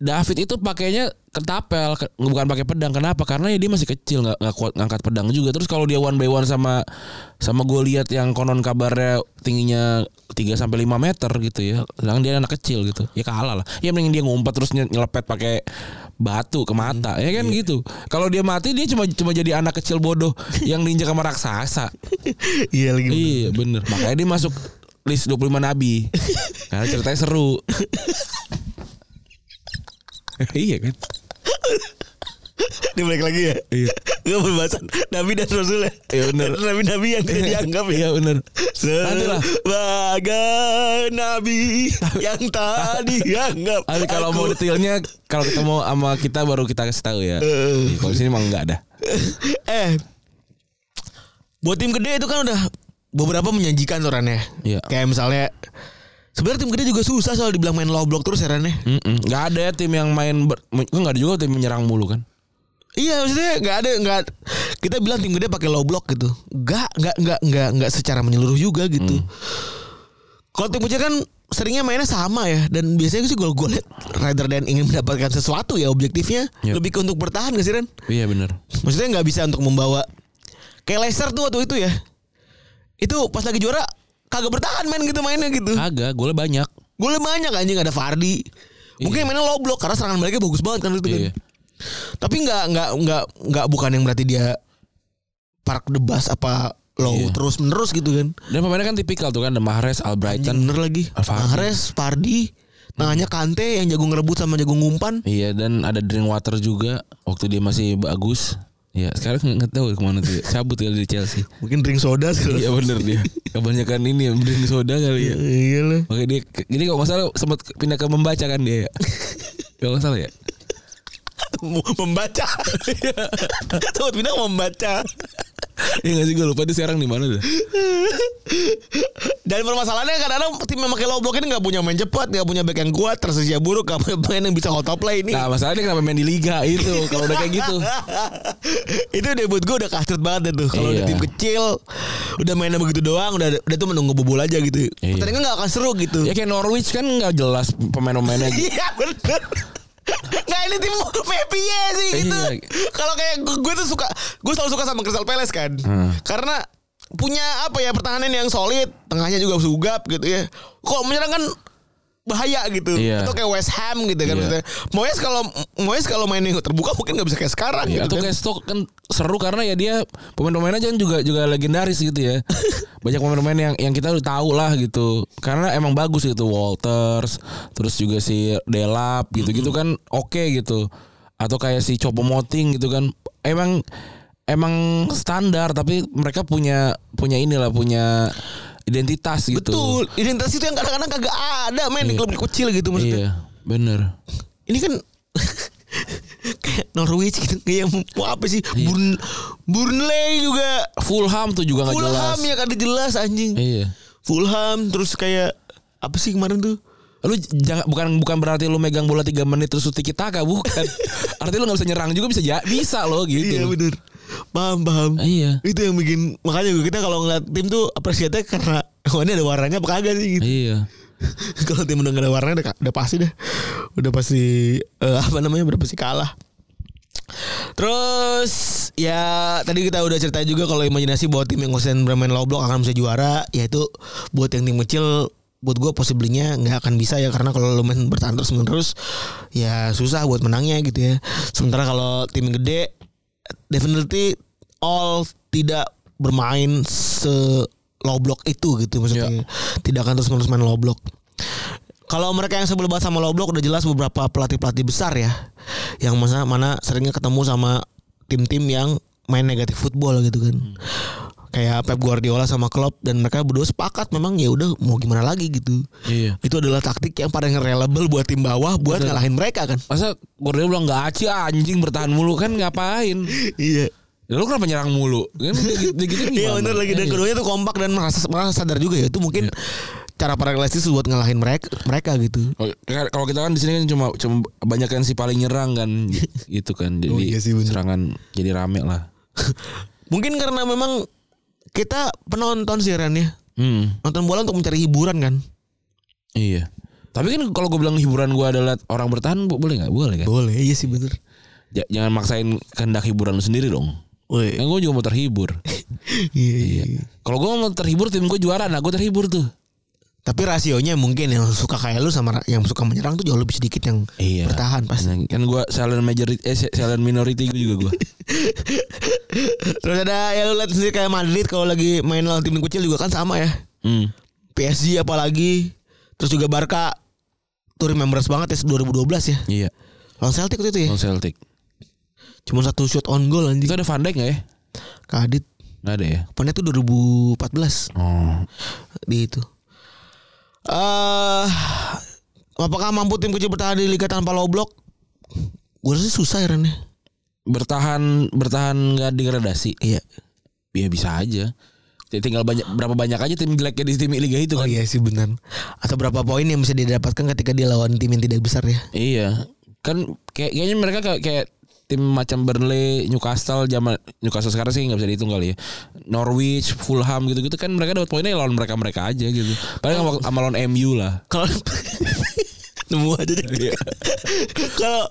B: David itu pakainya ketapel ke- bukan pakai pedang kenapa karena ya dia masih kecil nggak nggak kuat ngangkat pedang juga terus kalau dia one by one sama sama Goliat yang konon kabarnya tingginya 3 sampai 5 meter gitu ya sedangkan dia anak kecil gitu ya kalah lah ya mending dia ngumpet terus nye- nyelepet pakai batu ke mata ya kan gitu kalau dia mati dia cuma cuma jadi anak kecil bodoh yang diinjak sama raksasa
C: Iya lagi.
B: iya bener makanya dia masuk list 25 nabi karena ceritanya seru iya kan
C: Dia balik lagi ya.
B: Iya.
C: Gue pembahasan Nabi dan Rasul ya.
B: Iya, bener.
C: Nabi-nabi yang tidak dianggap ya.
B: Iya bener Nanti lah.
C: Sebagai Nabi yang tadi dianggap.
B: Tapi kalau mau
C: Aku-
B: detailnya kalau ketemu sama kita baru kita kasih tahu ya. Iya, Kalau di sini emang enggak ada.
C: eh buat tim gede itu kan udah beberapa menjanjikan tuh Ran, ya.
B: Iya.
C: Kayak misalnya sebenarnya tim gede juga susah soal dibilang main low block terus ya Ran, ya.
B: Mm-mm. Enggak ada ya tim yang main ber- kan enggak ada juga tim menyerang mulu kan.
C: Iya maksudnya nggak ada nggak kita bilang tim gede pakai low block gitu. Nggak nggak nggak nggak nggak secara menyeluruh juga gitu. Kalau tim kecil kan seringnya mainnya sama ya dan biasanya sih gol golnya rather than ingin mendapatkan sesuatu ya objektifnya
B: Yep.
C: lebih ke untuk bertahan gak sih Ren?
B: Iya bener
C: Maksudnya nggak bisa untuk membawa kayak Leicester tuh waktu itu ya. Itu pas lagi juara kagak bertahan main gitu mainnya gitu.
B: Agak, golnya banyak.
C: Golnya banyak anjing ada Fardi. Mungkin mainnya low block karena serangan baliknya bagus banget kan itu kan.
B: Iya.
C: Tapi nggak nggak nggak nggak bukan yang berarti dia park the bus apa low
B: Iya.
C: terus menerus gitu kan.
B: Dan pemainnya kan tipikal tuh kan, The Mahrez,
C: Anjing
B: Albrighton.
C: bener lagi.
B: Alvarez.
C: Mahrez, Pardi, tengahnya Kante yang jago ngerebut sama jago ngumpan.
B: Iya dan ada Drinkwater juga waktu dia masih bagus. Iya sekarang nggak tahu kemana tuh. Cabut kali di Chelsea.
C: Mungkin drink soda sekali.
B: Iya bener dia. Kebanyakan ini ya drink soda kali ya.
C: Iya lah.
B: Oke dia jadi kalau nggak salah sempat pindah ke membaca kan dia. Ya? Kalau nggak salah ya.
C: membaca. Sempat pindah membaca.
B: Iya nggak sih gue lupa dia sekarang di mana tuh.
C: Dan permasalahannya kadang-kadang tim yang pakai low block ini nggak punya main cepat, nggak punya back yang kuat, tersisa buruk, nggak punya pemain yang bisa autoplay ini.
B: Nah masalahnya kenapa main di liga itu kalau udah kayak gitu.
C: itu debut gue udah kasut banget itu kalau udah
B: Iya.
C: tim kecil udah mainnya begitu doang udah udah tuh menunggu bobol aja gitu
B: Iya.
C: pertandingan nggak akan seru gitu
B: Ya kayak Norwich kan nggak jelas pemain-pemainnya.
C: Iya bener Nggak ini tim Mepie sih gitu
B: Iya.
C: Kalau kayak gue, gue tuh suka Gue selalu suka sama Crystal Palace kan
B: Hmm.
C: Karena punya apa ya pertahanan yang solid Tengahnya juga sugap gitu ya Kok menyerang kan bahaya gitu
B: Iya.
C: Atau kayak West Ham gitu kan
B: Iya.
C: maksudnya. Moyes kalau Moyes kalau main yang terbuka mungkin nggak bisa kayak sekarang
B: Ya,
C: gitu
B: atau
C: kan.
B: kayak stok kan seru karena ya dia pemain-pemainnya kan juga juga legendaris gitu ya. Banyak pemain-pemain yang yang kita udah tahu lah gitu. Karena emang bagus gitu Walters, terus juga si Delap gitu-gitu kan oke gitu. Atau kayak si Chopo Moting gitu kan. Emang emang standar tapi mereka punya punya inilah punya identitas gitu.
C: Betul Identitas itu yang kadang-kadang kagak ada main
B: Iya.
C: di klub kecil gitu
B: Iya,
C: maksudnya
B: bener.
C: ini kan kayak Norwich gitu kayak mau apa sih
B: Iya.
C: Burn Burnley juga
B: Fulham tuh juga nggak jelas.
C: Fulham ya kan ada jelas anjing
B: Iya.
C: Fulham terus kayak apa sih kemarin tuh
B: Lu jangan bukan bukan berarti lu megang bola 3 menit terus tiki taka bukan. Artinya lu nggak bisa nyerang juga bisa ja- bisa lo
C: iya
B: gitu.
C: bener paham paham
B: Iya.
C: itu yang bikin makanya kita kalau ngeliat tim tuh apresiatnya karena wah ini ada warnanya apa kagak sih gitu
B: Iya.
C: kalau tim udah gak ada warnanya udah, ka- udah pasti dah udah pasti eh, apa namanya udah pasti kalah Terus ya tadi kita udah cerita juga kalau imajinasi bahwa tim yang konsisten bermain low block akan bisa juara yaitu buat yang tim kecil buat gue possibly-nya nggak akan bisa ya karena kalau lu main bertahan terus menerus ya susah buat menangnya gitu ya. Sementara kalau tim yang gede definitely all tidak bermain se low block itu gitu maksudnya. Tidak akan terus menerus main low block. Kalau mereka yang sebelum bahas sama low block udah jelas beberapa pelatih-pelatih besar ya. Yang mana mana seringnya ketemu sama tim-tim yang main negatif football gitu kan. Kayak Pep Guardiola sama Klopp dan mereka berdua sepakat memang ya udah mau gimana lagi gitu.
B: Iya.
C: Itu adalah taktik yang paling reliable buat tim bawah buat ngalahin mereka kan.
B: Masa Guardiola bilang nggak aci anjing bertahan mulu kan ngapain?
C: Iya.
B: Ya, lu kenapa nyerang mulu? Kan gitu gitu gimana?
C: Iya bener lagi dan
B: Iya.
C: keduanya tuh kompak dan merasa merasa sadar juga ya itu mungkin cara para realistis buat ngalahin mereka mereka gitu.
B: Oke, Oh, Kalau kita kan di sini kan cuma cuma banyak kan si paling nyerang kan gitu kan. Jadi
C: Oh, iya sih, bener.
B: serangan jadi rame lah.
C: Mungkin karena memang kita penonton sih Ran ya.
B: Hmm.
C: nonton bola untuk mencari hiburan kan
B: Iya. Tapi kan kalau gue bilang hiburan gue adalah orang bertahan bo- boleh nggak? Boleh kan?
C: boleh iya sih bener
B: Ja- jangan maksain kehendak hiburan lu sendiri dong.
C: Woi,
B: Kan gue juga mau terhibur. Ya.
C: iya, iya.
B: Kalau gue mau terhibur tim gue juara, nah gue terhibur tuh.
C: Tapi rasionya mungkin yang suka kayak lu sama ra- yang suka menyerang tuh jauh lebih sedikit yang
B: Iya.
C: bertahan pasti.
B: Kan gue silent majority, eh silent minority gue juga gue.
C: Terus ada ya lu lihat sendiri kayak Madrid kalau lagi main lawan tim kecil juga kan sama ya.
B: Hmm.
C: PSG apalagi terus juga Barca tuh remembers banget ya 2012 ya.
B: Iya.
C: Lawan Celtic waktu itu ya.
B: Lawan Celtic.
C: Cuma satu shot on goal
B: Itu
C: anjing.
B: ada Van Dijk nggak ya?
C: Kadit.
B: Nggak ada ya.
C: Pokoknya tuh 2014.
B: Oh.
C: di itu. Eh, apakah mampu tim kecil bertahan di liga tanpa low block? Gue rasa susah ya Ren, ya.
B: Bertahan bertahan nggak degradasi.
C: Iya.
B: Ya bisa aja. Jadi Tinggal banyak berapa banyak aja tim jeleknya di tim liga itu
C: Oh
B: kan.
C: iya sih benar. Atau berapa poin yang bisa didapatkan ketika dia lawan tim yang tidak besar ya?
B: Iya, kan kayak kayaknya mereka kayak, kayak tim macam Burnley, Newcastle zaman Newcastle sekarang sih nggak bisa dihitung kali ya. Norwich, Fulham gitu-gitu kan mereka dapat poinnya lawan mereka mereka aja gitu. Paling sama, sama lawan MU lah.
C: Kalau Iya. nemu aja deh. Kalau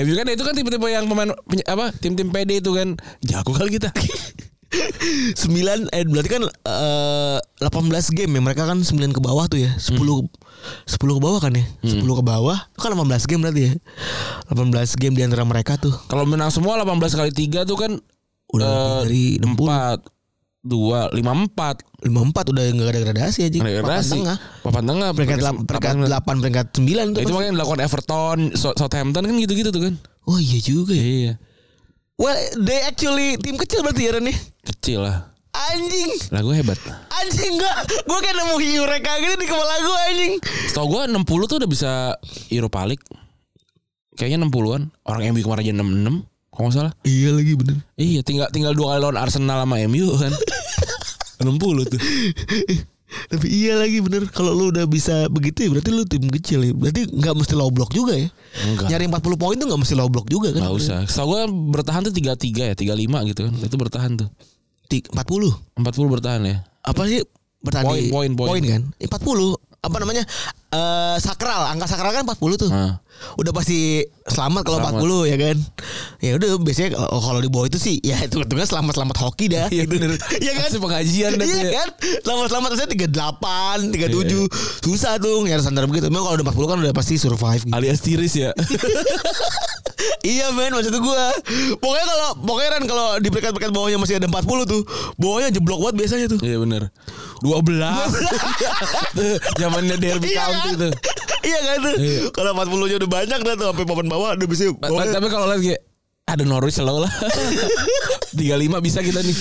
B: MU kan itu kan tipe-tipe yang pemain peny- apa tim-tim PD itu kan jago kali kita.
C: 9 eh berarti kan eh, 18 game ya mereka kan 9 ke bawah tuh ya. 10 10 ke bawah kan ya? 10 ke bawah. Itu kan 18 game berarti ya. 18 game di antara mereka tuh.
B: Kalau menang semua 18 kali 3 tuh kan
C: Udah lebih dari 60.
B: empat dua lima empat
C: 54 udah nggak ada gradasi aja.
B: Regenerasi.
C: Papan tengah.
B: Papan tengah.
C: Peringkat,
B: peringkat-
C: lam- peringkat
B: papan-
C: 8, peringkat 9 tuh.
B: Itu
C: kan.
B: makanya dilakukan Everton, Sou- Southampton kan gitu-gitu tuh kan.
C: Oh iya juga ya.
B: Iya.
C: Well, they actually tim kecil berarti ya Ren ya?
B: Kecil lah.
C: Anjing,
B: Lah gue hebat.
C: anjing enggak. Gue kayak nemu Eureka gitu di kepala gue anjing.
B: Setau gue 60 tuh udah bisa Europa League. Kayaknya 60-an. Orang MU kemarin aja 66. Kalau nggak salah.
C: Iya lagi bener.
B: Iya tinggal tinggal dua kali lawan Arsenal sama MU kan. 60 tuh.
C: Tapi iya lagi bener Kalau lu udah bisa begitu ya Berarti lu tim kecil ya Berarti nggak mesti low block juga ya
B: Enggak.
C: Nyari 40 poin tuh nggak mesti low block juga kan
B: Gak usah. Setau gue bertahan tuh 33 ya. 35 gitu kan. Itu bertahan tuh.
C: Ti- 40
B: 40 bertahan ya.
C: Apa sih Bertani
B: Poin, poin, poin.
C: kan Eh, 40 Apa namanya Eh Sakral Angka sakral kan 40 tuh
B: Nah.
C: Udah pasti selamat kalau
B: Selamat.
C: 40 ya kan Ya udah biasanya kalau- kalau di bawah itu sih Ya itu hitungnya selamat-selamat hoki dah
B: Iya bener.
C: Iya kan
B: Pasti pengajian dah tuh
C: Iya
B: ya.
C: kan Selamat-selamat Saya 38 37 Susah tuh Nyari standar begitu Memang kalau udah 40 kan udah pasti survive gitu.
B: Alias tiris ya.
C: Iya men maksud gue Pokoknya kalau Pokoknya Ran kalau di peringkat-peringkat bawahnya masih ada 40 tuh Bawahnya jeblok banget biasanya tuh
B: Iya bener 12 Tuh, Zamannya Derby
C: Iya
B: County
C: kan?
B: tuh
C: Iya kan tuh
B: Iya.
C: Kalau 40 nya udah banyak dah tuh Sampai papan bawah udah bisa
B: Ba- ba-
C: bawahnya.
B: Tapi kalau lihat kayak Ada Norwich selalu lah 35 bisa kita nih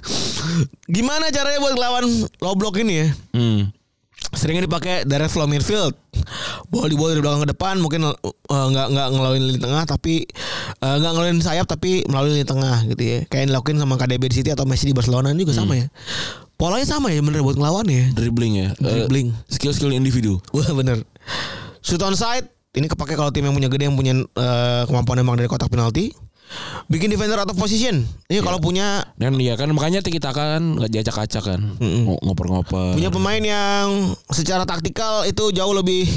C: Gimana caranya buat ngelawan low block ini ya
B: hmm.
C: Seringnya dipakai direct flow midfield Bola dibawa dari belakang ke depan Mungkin eh, nggak nggak ngelalui lini tengah Tapi eh, nggak ngelalui sayap Tapi melalui lini tengah gitu ya Kayak yang dilakuin sama KDB di City Atau Messi di Barcelona juga sama ya Polanya sama ya bener buat ngelawan ya
B: Dribbling ya Eh,
C: Dribbling.
B: Skill-skill individu
C: Wah bener Shoot on side Ini kepake kalau tim yang punya gede Yang punya eh, kemampuan emang dari kotak penalti Bikin defender out of position Ini kalau punya
B: Dan ya kan makanya kita kan nggak diacak-acak kan Ngo- ngoper-ngoper
C: Punya pemain yang secara taktikal itu jauh lebih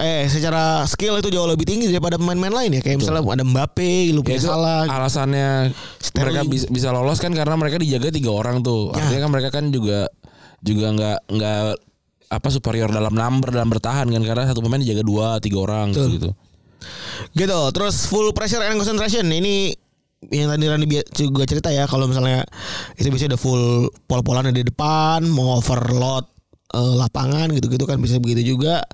C: eh secara skill itu jauh lebih tinggi daripada pemain-pemain lain ya. Kayak misalnya ada Mbappe, lu
B: Ya
C: punya
B: itu
C: salah.
B: alasannya mereka
C: Sterling.
B: bisa, bisa lolos kan karena mereka dijaga tiga orang tuh
C: Ya.
B: artinya kan mereka kan juga juga nggak nggak apa superior dalam number dalam bertahan kan karena satu pemain dijaga dua tiga orang gitu
C: Gitu. Terus full pressure and concentration. Ini yang tadi Rani bia- juga cerita ya kalau misalnya itu bisa udah full pol-polan di depan, mau overload eh, lapangan gitu-gitu kan bisa begitu juga.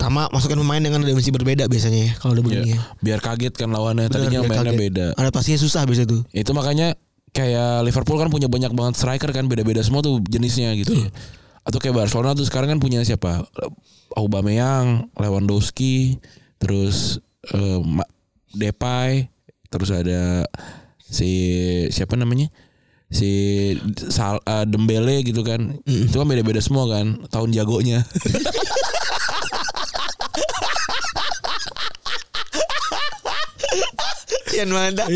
C: Tama masukin pemain dengan dimensi berbeda biasanya ya kalau udah begini. Ya.
B: biar kaget kan lawannya
C: Bener,
B: Iya. tadinya
C: biar
B: mainnya
C: kaget.
B: beda
C: Adaptasinya susah biasanya tuh.
B: itu makanya kayak Liverpool kan punya banyak banget striker kan beda-beda semua tuh jenisnya gitu ya. atau kayak Barcelona tuh sekarang kan punya siapa Aubameyang Lewandowski terus eh, Ma- Depay terus ada si siapa namanya si Sal, eh, Dembele gitu kan itu kan beda-beda semua kan tahun jagonya
C: Yang mantap.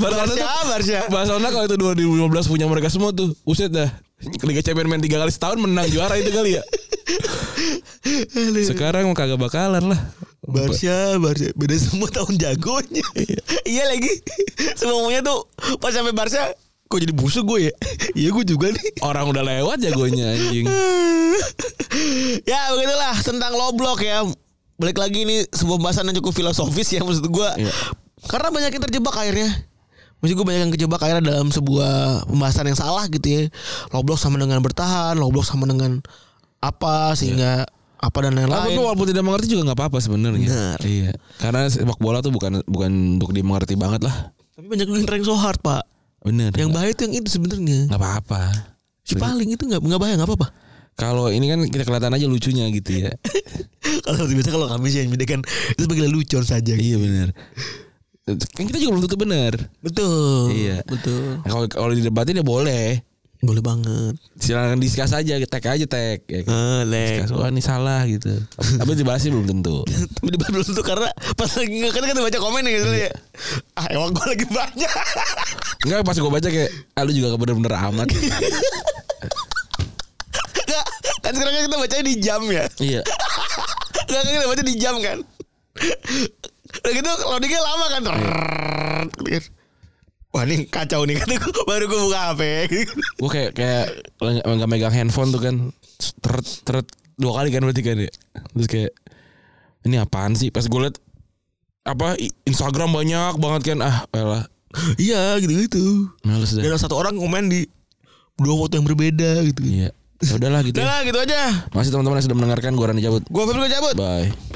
B: Barcelona Iya, tuh-
C: Iya. Siapa Barsya?
B: Barcelona kalau itu 2015 punya mereka semua tuh. Uset dah. Liga Champions main 3 kali setahun menang juara itu kali ya. Sekarang mah kagak bakalan lah.
C: Barsha, Barsha beda semua tahun jagonya. iya lagi. Semuanya tuh pas sampai Barsha kok jadi busuk gue ya? Iya gue juga nih.
B: Orang udah lewat jagonya anjing.
C: ya begitulah tentang low block ya. Balik lagi ini sebuah pembahasan yang cukup filosofis ya maksud gue.
B: Iya.
C: Karena banyak yang terjebak akhirnya. Maksud gue banyak yang kejebak akhirnya dalam sebuah pembahasan yang salah gitu ya. Low block sama dengan bertahan, low block sama dengan apa sehingga Iya. apa dan
B: Tapi
C: lain-lain.
B: walaupun tidak mengerti juga nggak apa-apa sebenarnya.
C: Benar.
B: Iya. Karena sepak bola tuh bukan bukan untuk dimengerti banget lah.
C: Tapi banyak yang trying so hard pak.
B: Bener.
C: Yang bahaya itu yang itu sebenarnya.
B: nggak apa-apa.
C: Si paling itu nggak nggak bahaya nggak apa-apa.
B: Kalau ini kan kita kelihatan aja lucunya gitu ya.
C: Kalau biasa kalau kami sih yang beda kan itu sebagai lucon saja.
B: iya bener. Kan kita juga belum tutup bener.
C: Betul.
B: Iya.
C: Betul.
B: Nah, Kalau kalau didebatin ya boleh.
C: Boleh banget.
B: silakan diskus aja tag aja tag ya kan?
C: Boleh.
B: Discuss, wah ini salah gitu tapi dibalasnya belum tentu
C: Tapi debat belum tuh karena pas lagi nggak kan kita baca komen ya gitu ya. Ah emang gue lagi banyak.
B: enggak pas gue baca kayak ah, lu juga bener-bener amat
C: Nggak, kan sekarang kan kita bacanya di jam ya.
B: iya
C: Nggak kan kita baca di jam kan. Udah gitu loadingnya lama kan. Trrrr, gitu kan. Wah ini kacau nih kata gua. baru gue buka HP.
B: gue kayak kayak nggak nggak megang handphone tuh kan teret teret dua kali kan berarti kan ya terus kayak ini apaan sih pas gue liat apa i- Instagram banyak banget kan ah elah
C: Iya gitu gitu.
B: males
C: Dan
B: dah
C: ada satu orang komen di dua foto yang berbeda gitu.
B: Iya. Ya udahlah gitu.
C: Udah
B: ya.
C: lah gitu aja.
B: Masih teman-teman yang sudah mendengarkan gua Rani cabut.
C: Gua Febri gua cabut.
B: Bye.